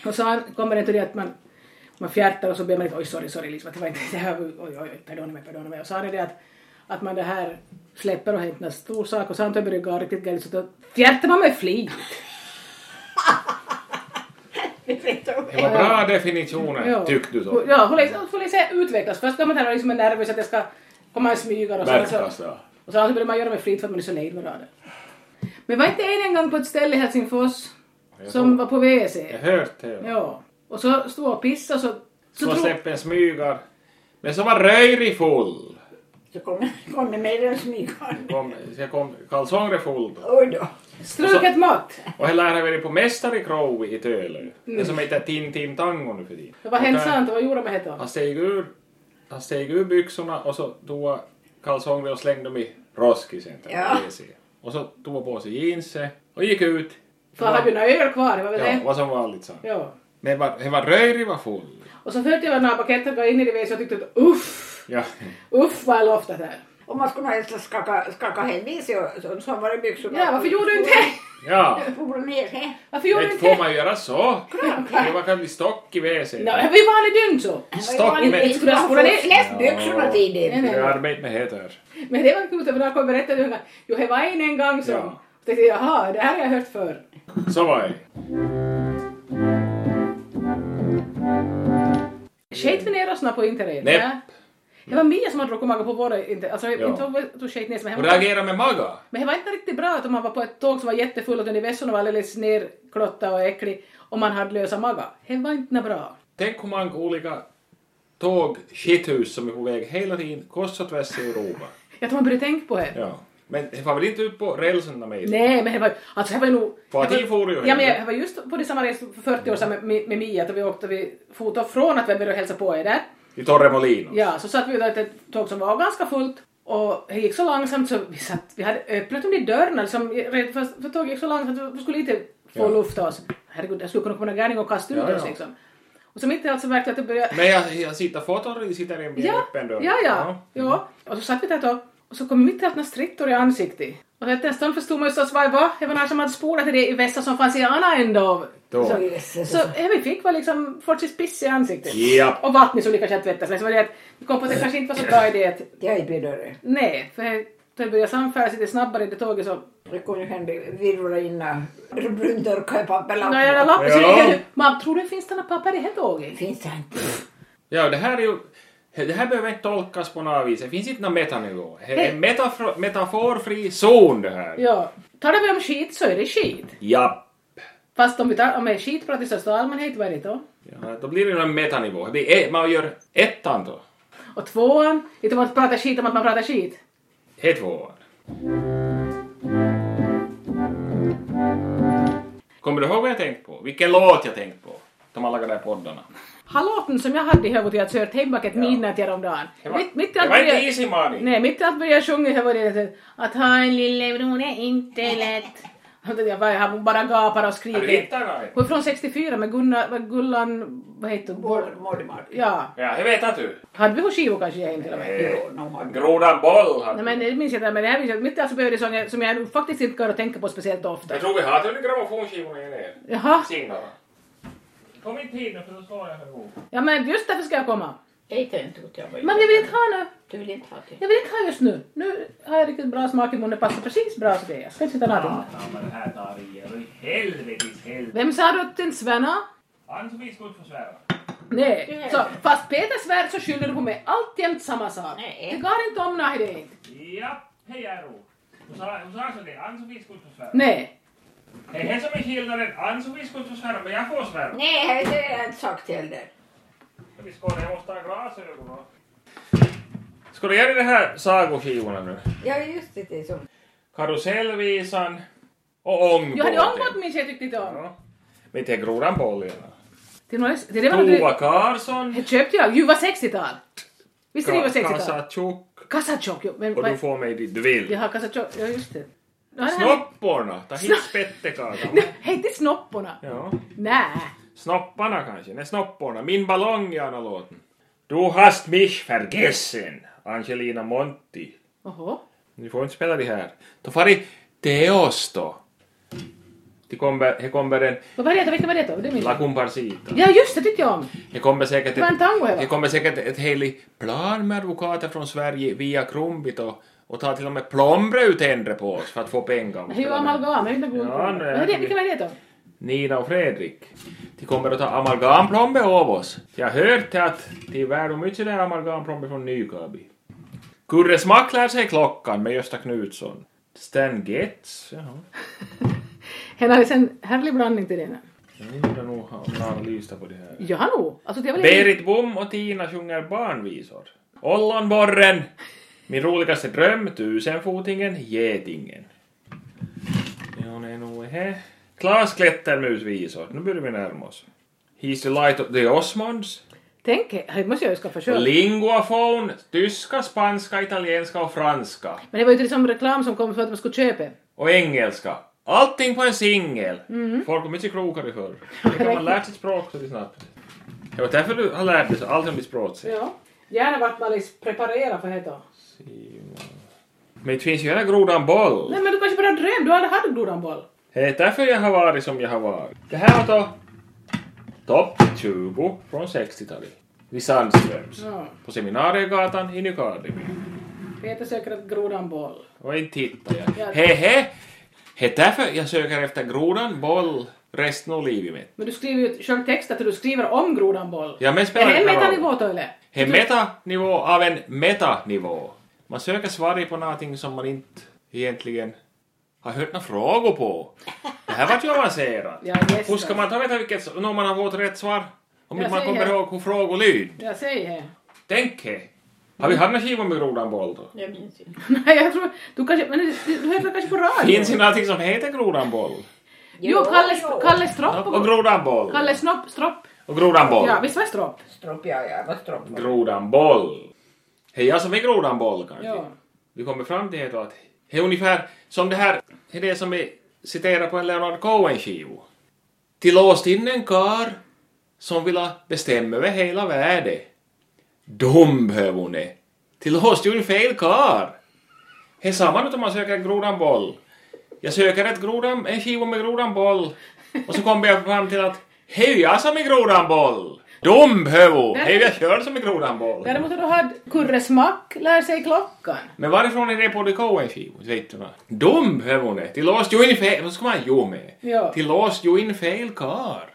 Speaker 2: och så kommer det till det att man man fjärtar och så ber man lite oj sorry sorry liksom att det var inte det här oj oj oj pardon mig pardon mig och så har det det att att man det här släpper och hämtar en stor sak och samtidigt börjar det gå riktigt galet så då fjärtar man med flit.
Speaker 1: Det var bra definitioner, tyckte du så.
Speaker 2: Ja, får liksom, får liksom utvecklas. Först går man där och liksom är nervös att det ska komma en smygare och så, så,
Speaker 1: Verkas det.
Speaker 2: och så börjar man göra med flit för att man är så nöjd med raden. Men var inte en en gång på ett ställe i Helsingfors som var på WC?
Speaker 1: Jag hört det.
Speaker 2: Ja. Och så stod och pissade så...
Speaker 1: Så
Speaker 2: tro-
Speaker 1: släppen smygar. Men som var röjrig full.
Speaker 7: Så kom, kom det med en smygande.
Speaker 1: Kom, så kom kalsonger full då.
Speaker 7: Oj då.
Speaker 2: Struket mat!
Speaker 1: Och hela har varit på Mästare Crow i Tölö. Det som heter Tintin Tango nu för tiden.
Speaker 2: Mm. Vad hände sant och vad gjorde man hette han?
Speaker 1: Han steg ur, han steg ur byxorna och så tog han kalsonger och slängde dem i roskisen. där
Speaker 7: Ja.
Speaker 1: på WC. Och så tog han på sig jeansen och gick ut.
Speaker 2: För han hade ju några öl kvar, det var väl
Speaker 1: Ja,
Speaker 2: det?
Speaker 1: vad som vanligt sa han.
Speaker 2: Ja.
Speaker 1: Men det var, det var röjrig var full.
Speaker 2: Och så hörde jag när paketet var inne i det så jag tyckte att uff,
Speaker 1: Ja.
Speaker 2: uff vad jag loftat här.
Speaker 7: Om man skulle ha helst skaka, skaka hem i sig och så, så var det byxorna.
Speaker 2: Ja, varför gjorde du inte det?
Speaker 1: ja.
Speaker 7: Problemet är.
Speaker 2: Varför gjorde du
Speaker 1: Men
Speaker 2: inte
Speaker 1: får
Speaker 2: det?
Speaker 1: man göra så? Det var kan bli stock i WC.
Speaker 2: No, det var ju vanlig dygn så.
Speaker 1: Stock i
Speaker 2: men-
Speaker 1: WC.
Speaker 2: skulle jag spola det?
Speaker 7: Släpp byxorna till
Speaker 2: Nej,
Speaker 7: det.
Speaker 1: Jag
Speaker 2: nej.
Speaker 1: arbetar med det här.
Speaker 2: Men det var kul för när jag kom berättade hon att jo, det var en en gång som.
Speaker 1: Ja. Mm.
Speaker 2: Och tänkte jag, jaha, det här har jag hört förr.
Speaker 1: Så var det.
Speaker 2: Sket vi ner oss nå på internet?
Speaker 1: Nej.
Speaker 2: Ja. Det var Mia som hade råkat maga på våra internet. Alltså,
Speaker 1: Ja.
Speaker 2: inte hon tog sket ner sig, men
Speaker 1: Och
Speaker 2: hon var-
Speaker 1: reagera med maga.
Speaker 2: Men det var inte riktigt bra att om man var på ett tåg som var jättefullt och den i vässorna var alldeles nerklottad och äcklig och man hade lösa magar. Det var inte bra.
Speaker 1: Tänk hur många olika tåg, skithus som är på väg hela tiden, kors och tvärs i Europa.
Speaker 2: Jag tror man borde tänka på det.
Speaker 1: Ja. Men det var väl inte ut på rälsen när mig?
Speaker 2: Nej, men det var alltså det var ju nog...
Speaker 1: Vad
Speaker 2: det
Speaker 1: tid for ju
Speaker 2: Ja, men
Speaker 1: heller.
Speaker 2: jag var just på det samma resa för 40 år sedan med, med, med Mia, då vi åkte vi fotade från att vi började hälsa på er där.
Speaker 1: I Torremolino.
Speaker 2: Ja, så satt vi där ett tåg som var ganska fullt och det gick så långsamt så vi satt, vi hade öppnat de där dörrarna liksom, rädd för, för tåget gick så långsamt att vi skulle inte få
Speaker 1: Ja.
Speaker 2: lufta oss. Herregud, jag skulle kunna komma en gärning och kasta ut
Speaker 1: Ja,
Speaker 2: oss
Speaker 1: ja.
Speaker 2: liksom. Och så mitt i allt så märkte jag att det började
Speaker 1: Men jag, jag sitter fotor, sitter i en
Speaker 2: Ja,
Speaker 1: öppen dörr.
Speaker 2: ja, ja. ja. Och så satt vi där då och så kom mitt i allt några strittor i ansiktet. Och efter en stund förstod man ju förstås vad det var. Det var någon som hade spolat till det i vässan som fanns i andra änden av...
Speaker 1: Då.
Speaker 2: Så,
Speaker 7: jösses.
Speaker 2: så det vi fick var liksom fortsatt piss i ansiktet.
Speaker 1: Japp.
Speaker 2: Och vattnet som ni kanske hade tvättat. Men så var det att vi kom på att det kanske inte var så bra idé att...
Speaker 7: Jag är bedöre.
Speaker 2: Nej, för det började samfärdas lite snabbare i det tåget så...
Speaker 7: Det kunde ju hända virvla in bruntorkar i papperlappar.
Speaker 2: Nå, jag lappar
Speaker 1: Ja.
Speaker 2: så Man tror det finns såna papper i hela tåget.
Speaker 7: Finns det inte?
Speaker 1: Ja, det här är ju... Det här behöver inte tolkas på något vis. Det finns inte någon metanivå. Det är en metafro- metaforfri zon det här.
Speaker 2: Ja. Talar vi om skit så är det skit.
Speaker 1: Ja.
Speaker 2: Fast om vi tar, om det är skitprat i största allmänhet, vad är det då?
Speaker 1: ja. Då blir det ju en metanivå. Det blir, e- man gör ettan då.
Speaker 2: Och tvåan, inte om att prata skit om att man pratar skit.
Speaker 1: Det är tvåan. Kommer du ihåg vad jag tänkte på? Vilken låt jag tänkte på? De alla de där poddarna.
Speaker 2: Hallåten som jag hade i huvudet, jag kört hemma ett midnatt häromdagen.
Speaker 1: Det var,
Speaker 2: Mitt- mitt i
Speaker 1: det
Speaker 2: allt
Speaker 1: var inte
Speaker 2: började-
Speaker 1: Easy Money.
Speaker 2: Nej, mitt i allt började jag sjunga här var det att- att ha en lillebror är inte lätt. Och då Jag bara, jag bara gapar och
Speaker 1: Har du
Speaker 2: skriker.
Speaker 1: hittat något?
Speaker 2: Hon är från 64 med Gunnar, vad Gullan, vad heter hon?
Speaker 7: Vårdmordmark.
Speaker 2: Ja,
Speaker 1: Ja, det vet jag du.
Speaker 2: hade vi hon skivo kanske jag till och med?
Speaker 7: Jo, någon har-
Speaker 1: Grodan boll hade
Speaker 2: Nej
Speaker 1: vi.
Speaker 2: men det minns jag inte, men det här minns jag. Mitt i allt så började det sånger som jag nog faktiskt inte går att tänka på speciellt ofta.
Speaker 1: Jag tror vi har till grammofonskivorna i ner.
Speaker 2: Jaha,
Speaker 1: Signalerna. Kom inte hit nu för då slår jag ihop.
Speaker 2: ja men just därför ska jag komma.
Speaker 7: Hej, det är inte gott jag var.
Speaker 2: Men jag vill inte ha nu.
Speaker 7: Du vill inte ha det?
Speaker 2: Jag vill inte ha just nu. Nu har jag riktigt bra smak i munnen, passar precis bra för det. Jag ska inte sitta natten.
Speaker 8: men det här tar i er. Helvetes helvete.
Speaker 2: Vem sa du att den Svenna?
Speaker 8: Han som vi skulle försvära.
Speaker 2: Nej. Så, fast Peter svär så skyller du på mig alltjämt samma sak.
Speaker 7: Nej.
Speaker 2: Det går inte om nej det inte.
Speaker 8: Ja, hej Ero. Hon sa hon sa så det. Han som vi skulle försvära.
Speaker 2: Nej.
Speaker 8: Det är det som är skillnaden. Han som vi skulle försvära, men jag får svära.
Speaker 7: Nej, det har jag inte sagt heller.
Speaker 8: Vi skålar, jag måste ha glasögon. och-
Speaker 1: Ska du göra det här sagoskivorna nu?
Speaker 7: Ja, just det, det är som...
Speaker 1: Karusellvisan och ångbåten.
Speaker 2: Jag hade ångbåt minns jag tyckte inte om.
Speaker 1: Ja. Men inte är grodan boll i alla.
Speaker 2: Det är nog- det är det man-
Speaker 1: Tova Karlsson.
Speaker 2: Det köpte jag. Ju var 60-tal. Visst är det ju var 60-tal?
Speaker 1: Kasatjuk.
Speaker 2: Kassatjock, jo. Men
Speaker 1: Och du
Speaker 2: vad...
Speaker 1: får mig dit du vill.
Speaker 2: Jag har kassatjock, ja just det. Ja, det här-
Speaker 1: Snopporna. Ta hit spettekakan.
Speaker 2: Nej, Hej till snopporna.
Speaker 1: Ja.
Speaker 2: Nä.
Speaker 1: Snopparna kanske? Nej, snopporna. Min ballong är andra låten. Du hast mich vergessen. Angelina Monti.
Speaker 2: Oho.
Speaker 1: Ni får inte spela det här. Då far i Teos då. Det kommer, det kommer en
Speaker 2: Vad var det då? Vilka var det då? Det minns
Speaker 1: La
Speaker 2: jag.
Speaker 1: Comparsita.
Speaker 2: Ja just det tyckte jag om.
Speaker 1: Det kommer säkert
Speaker 2: Det var en tango här, va?
Speaker 1: det kommer säkert ett heligt plan med advokater från Sverige via Krumbit och, och tar till och med plombre ut ändre på oss för att få pengar.
Speaker 2: Hur var amalgam? Jag vet inte
Speaker 1: Ja,
Speaker 2: vad
Speaker 1: nu är
Speaker 2: Vad är det?
Speaker 1: det-
Speaker 2: Vilka var det då?
Speaker 1: Nina och Fredrik. De kommer att ta amalgamplombe av oss. Jag hörde att de är värda mycket där amalgamplombe från Nykabi. Kurre Smack lär sig klockan med Gösta Knutsson. Stan Getz, jaha.
Speaker 2: Hen hade sen härlig blandning till den.
Speaker 1: Jag undrar nog om någon lyssnar på det här.
Speaker 2: Ja nog. Alltså det var lite...
Speaker 1: Berit Bom och Tina sjunger barnvisor. Ollonborren! Min roligaste dröm, tusenfotingen, getingen. Ja, nej, nog är här. Klas klättermusvisor. Nu börjar vi närma oss. He's the light of the Osmonds.
Speaker 2: Tänk er, det måste jag ju skaffa själv.
Speaker 1: Linguafon, tyska, spanska, italienska och franska.
Speaker 2: Men det var ju liksom reklam som kom för att man skulle köpa.
Speaker 1: Och engelska. Allting på en singel. Folk var mycket klokare förr. Det kan man lära sig språk så snabbt. Det var därför du har lärt dig så- allt om ditt språk.
Speaker 2: Ja. Gärna vart man liksom preparerar för det då.
Speaker 1: Niin. Men det finns ju hela grodan boll.
Speaker 2: Nej men du kanske bara drömde, du aldrig hade grodanboll.
Speaker 1: Det är därför jag har varit som jag har varit. Det här var då topp 20 från 60-talet. Vid Sandströms.
Speaker 2: Ja.
Speaker 1: På Seminariegatan i Nykarleby.
Speaker 2: Peter söker ett grodanboll.
Speaker 1: Och inte hittar
Speaker 2: Ja.
Speaker 1: jag. He he! Det är därför jag söker efter grodan boll no resten av livet mitt.
Speaker 2: Men du skriver ju själv text att du skriver om grodanboll.
Speaker 1: Ja, men
Speaker 2: Är
Speaker 1: spelar
Speaker 2: det en
Speaker 1: inte någon
Speaker 2: metanivå då eller?
Speaker 1: Det är metanivå av en metanivå. Man söker svar på någonting som man inte egentligen har hört några frågor på. Det här var ju avancerat.
Speaker 2: Ja, just
Speaker 1: Hur ska
Speaker 2: det.
Speaker 1: man ta veta vilket, om man har fått rätt svar? Om
Speaker 2: Jag
Speaker 1: inte man
Speaker 2: säger-
Speaker 1: kommer ihåg hur frågor lyd.
Speaker 2: Jag säger det.
Speaker 1: Tänk er. Har
Speaker 2: Mm.
Speaker 1: vi hamnat skivan med grodan boll då?
Speaker 7: Jag minns inte.
Speaker 2: Nej, jag tror... Du kanske... Men du, du hörde kanske på radio?
Speaker 1: Finns det någonting som heter grodan boll?
Speaker 2: Jo, Kalle, Kalle Stropp
Speaker 1: Och
Speaker 2: och...
Speaker 1: grodan boll.
Speaker 2: Kalle Snopp, Stropp.
Speaker 1: Och grodan boll.
Speaker 2: Ja, visst var det Stropp?
Speaker 7: Stropp, ja, ja, vad stropp var.
Speaker 1: Grodan boll. Hej, jag som är grodan boll kanske.
Speaker 2: Ja.
Speaker 1: Vi kommer fram till det då att det är ungefär som det här, det är det som vi citerar på en Leonard Cohen-skiva. Till låst in en kar som vill bestämma över hela världen. Dum behöver hon är. Till låst ju en fel kar. Det är samma nu om man söker en grodan boll. Jag söker ett grodan, en skiva med grodan boll och så kommer jag fram till att hej, jag som är grodan boll. Dom behövo!
Speaker 2: Nej.
Speaker 1: Hej, vi har kört som i grodan boll.
Speaker 2: Däremot har du haft Kurre Smack lär sig klockan.
Speaker 1: Men varifrån är det på de Coen skivor? Vet du vad? Dom behövo det. Till låst ju in fel... Vad ska man ju med?
Speaker 2: Ja.
Speaker 1: Till låst ju in fel kar.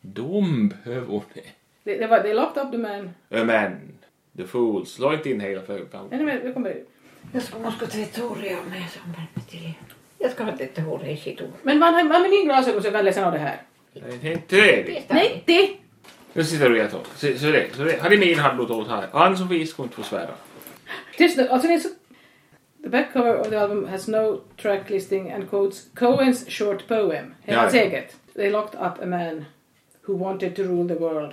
Speaker 1: Dom behövo det.
Speaker 2: Det, det, var, det är lågt upp du men...
Speaker 1: Ö, Men, the fools. Slå inte in hela fögan.
Speaker 2: Nej, men jag kommer...
Speaker 7: Jag ska, man ska tvätta håret av mig som värmer till. Jag ska ha tvättat håret i sitt ord.
Speaker 2: Men man har man med din glasögon så jag kan läsa av det här.
Speaker 1: Det är inte trevligt.
Speaker 2: Nej, det!
Speaker 1: Nu sitter du i ett hål. Så, så det, så det. Hade min hand åt åt här. Ann-Sofie skulle inte få svära.
Speaker 2: Tyst nu, alltså ni är så... The back cover of the album has no track listing and quotes Coens short poem. Hela
Speaker 1: Ja,
Speaker 2: hans
Speaker 1: ja.
Speaker 2: eget. They locked up a man who wanted to rule the world.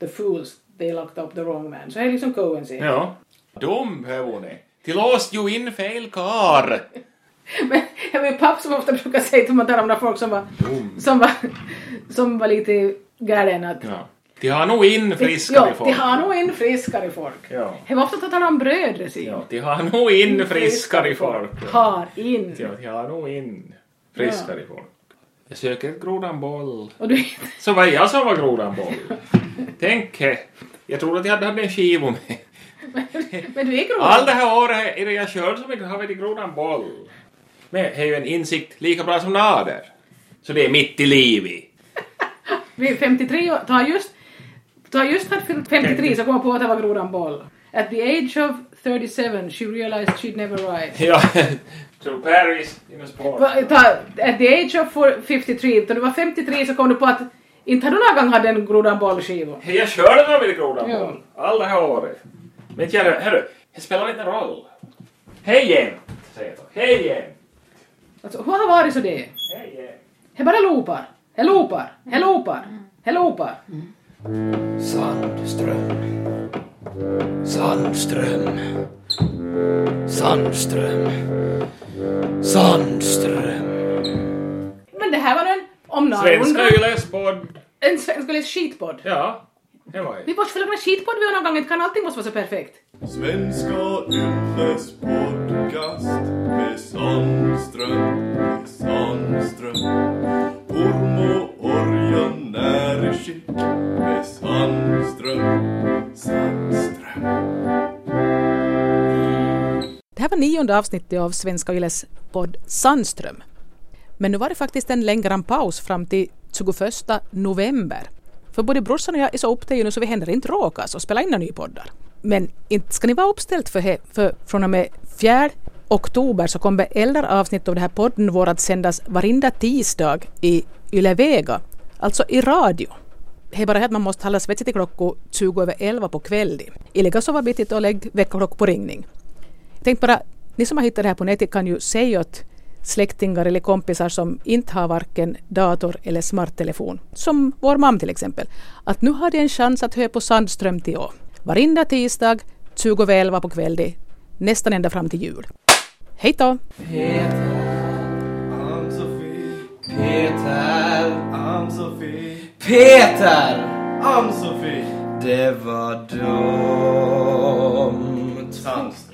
Speaker 2: The fools, they locked up the wrong man. Så här är liksom Coens eget.
Speaker 1: Ja. De behöver det. Till oss ju in fel kar.
Speaker 2: Men jag min papp som ofta brukar säga till man talar om några folk som var, som var, som var lite galen att
Speaker 1: Ja. De har nog in friskare
Speaker 2: ja,
Speaker 1: folk.
Speaker 2: de har nog in friskare folk.
Speaker 1: Ja.
Speaker 2: Det var ofta att han talade om bröder sin.
Speaker 1: Ja, de har nog in friskare folk.
Speaker 2: Har in.
Speaker 1: Ja, de har nog in friskare folk. Jag söker ett grodan boll.
Speaker 2: Och du,
Speaker 1: Så var jag som var grodan boll. Tänk he. Jag trodde att jag hade haft en skiva med.
Speaker 2: men du är grov.
Speaker 1: Allt det här året är det jag kört så mycket har vi till grodan boll. Men det är ju en insikt lika bra som nader. Så det är mitt i livet.
Speaker 2: Vid 53 år, ta just, ta just han fyllt 53 så kom jag på att det var grodan boll. At the age of 37 she realized she'd never ride.
Speaker 1: Ja. To Paris in a sport.
Speaker 2: Va- Ta, at the age of four- 53, då du var 53 så kom du på att inte har du någon gång haft en grodan boll-skiva.
Speaker 1: Hej, jag körde när jag ville grodan
Speaker 2: Ja.
Speaker 1: boll. Alla det här året. Men inte jag- hörru, det spelar inte någon roll. Hej jämt, säger jag då. Hej jämt.
Speaker 2: Alltså, hur har det varit så det är?
Speaker 1: Hej jämt.
Speaker 2: He bara loopar. He loopar. He loopar. He loopar.
Speaker 9: Sandström. Sandström. Sandström. Sandström.
Speaker 2: Men det här var nu en, om några
Speaker 1: Svenska
Speaker 2: hundra,
Speaker 1: Ylespodd.
Speaker 2: en svensk eller skitpodd.
Speaker 1: Ja, det var ju.
Speaker 2: Vi måste väl ha en skitpodd vi har någon gång, inte kan allting måste vara så perfekt.
Speaker 10: Svenska Yles podcast med Sandström, med Sandström. Orm och orjan är i skick med Sandström, Sandström.
Speaker 4: Det här var nionde avsnittet av Svenska Yles podd Sandström. Men nu var det faktiskt en längre paus fram till 21 november. För både brorsan och jag är så upptagna nu så vi händer inte råkas och spela in några nya poddar. Men inte ska ni vara uppställt för, he- för från och med 4 oktober så kommer äldre avsnitt av den här podden vår att sändas varenda tisdag i Yle Vega, alltså i radio. Det är bara det att man måste hålla svetset i klockan 20 över 11 på kvällen. Illiga sova bitigt och lägg väckarklock på ringning. Tänk bara, ni som har hittat det här på nätet kan ju säga åt släktingar eller kompisar som inte har varken dator eller smarttelefon, som vår mam till exempel, att nu har de en chans att höra på Sandström till år. Varenda tisdag 20 över 11 på kvällen, nästan ända fram till jul. Hej då!
Speaker 9: Ann-Sofie. Peter.
Speaker 10: Ann-Sofie,
Speaker 9: Peter!
Speaker 10: Ann-Sofie,
Speaker 9: Det var dumt.
Speaker 10: Sandström.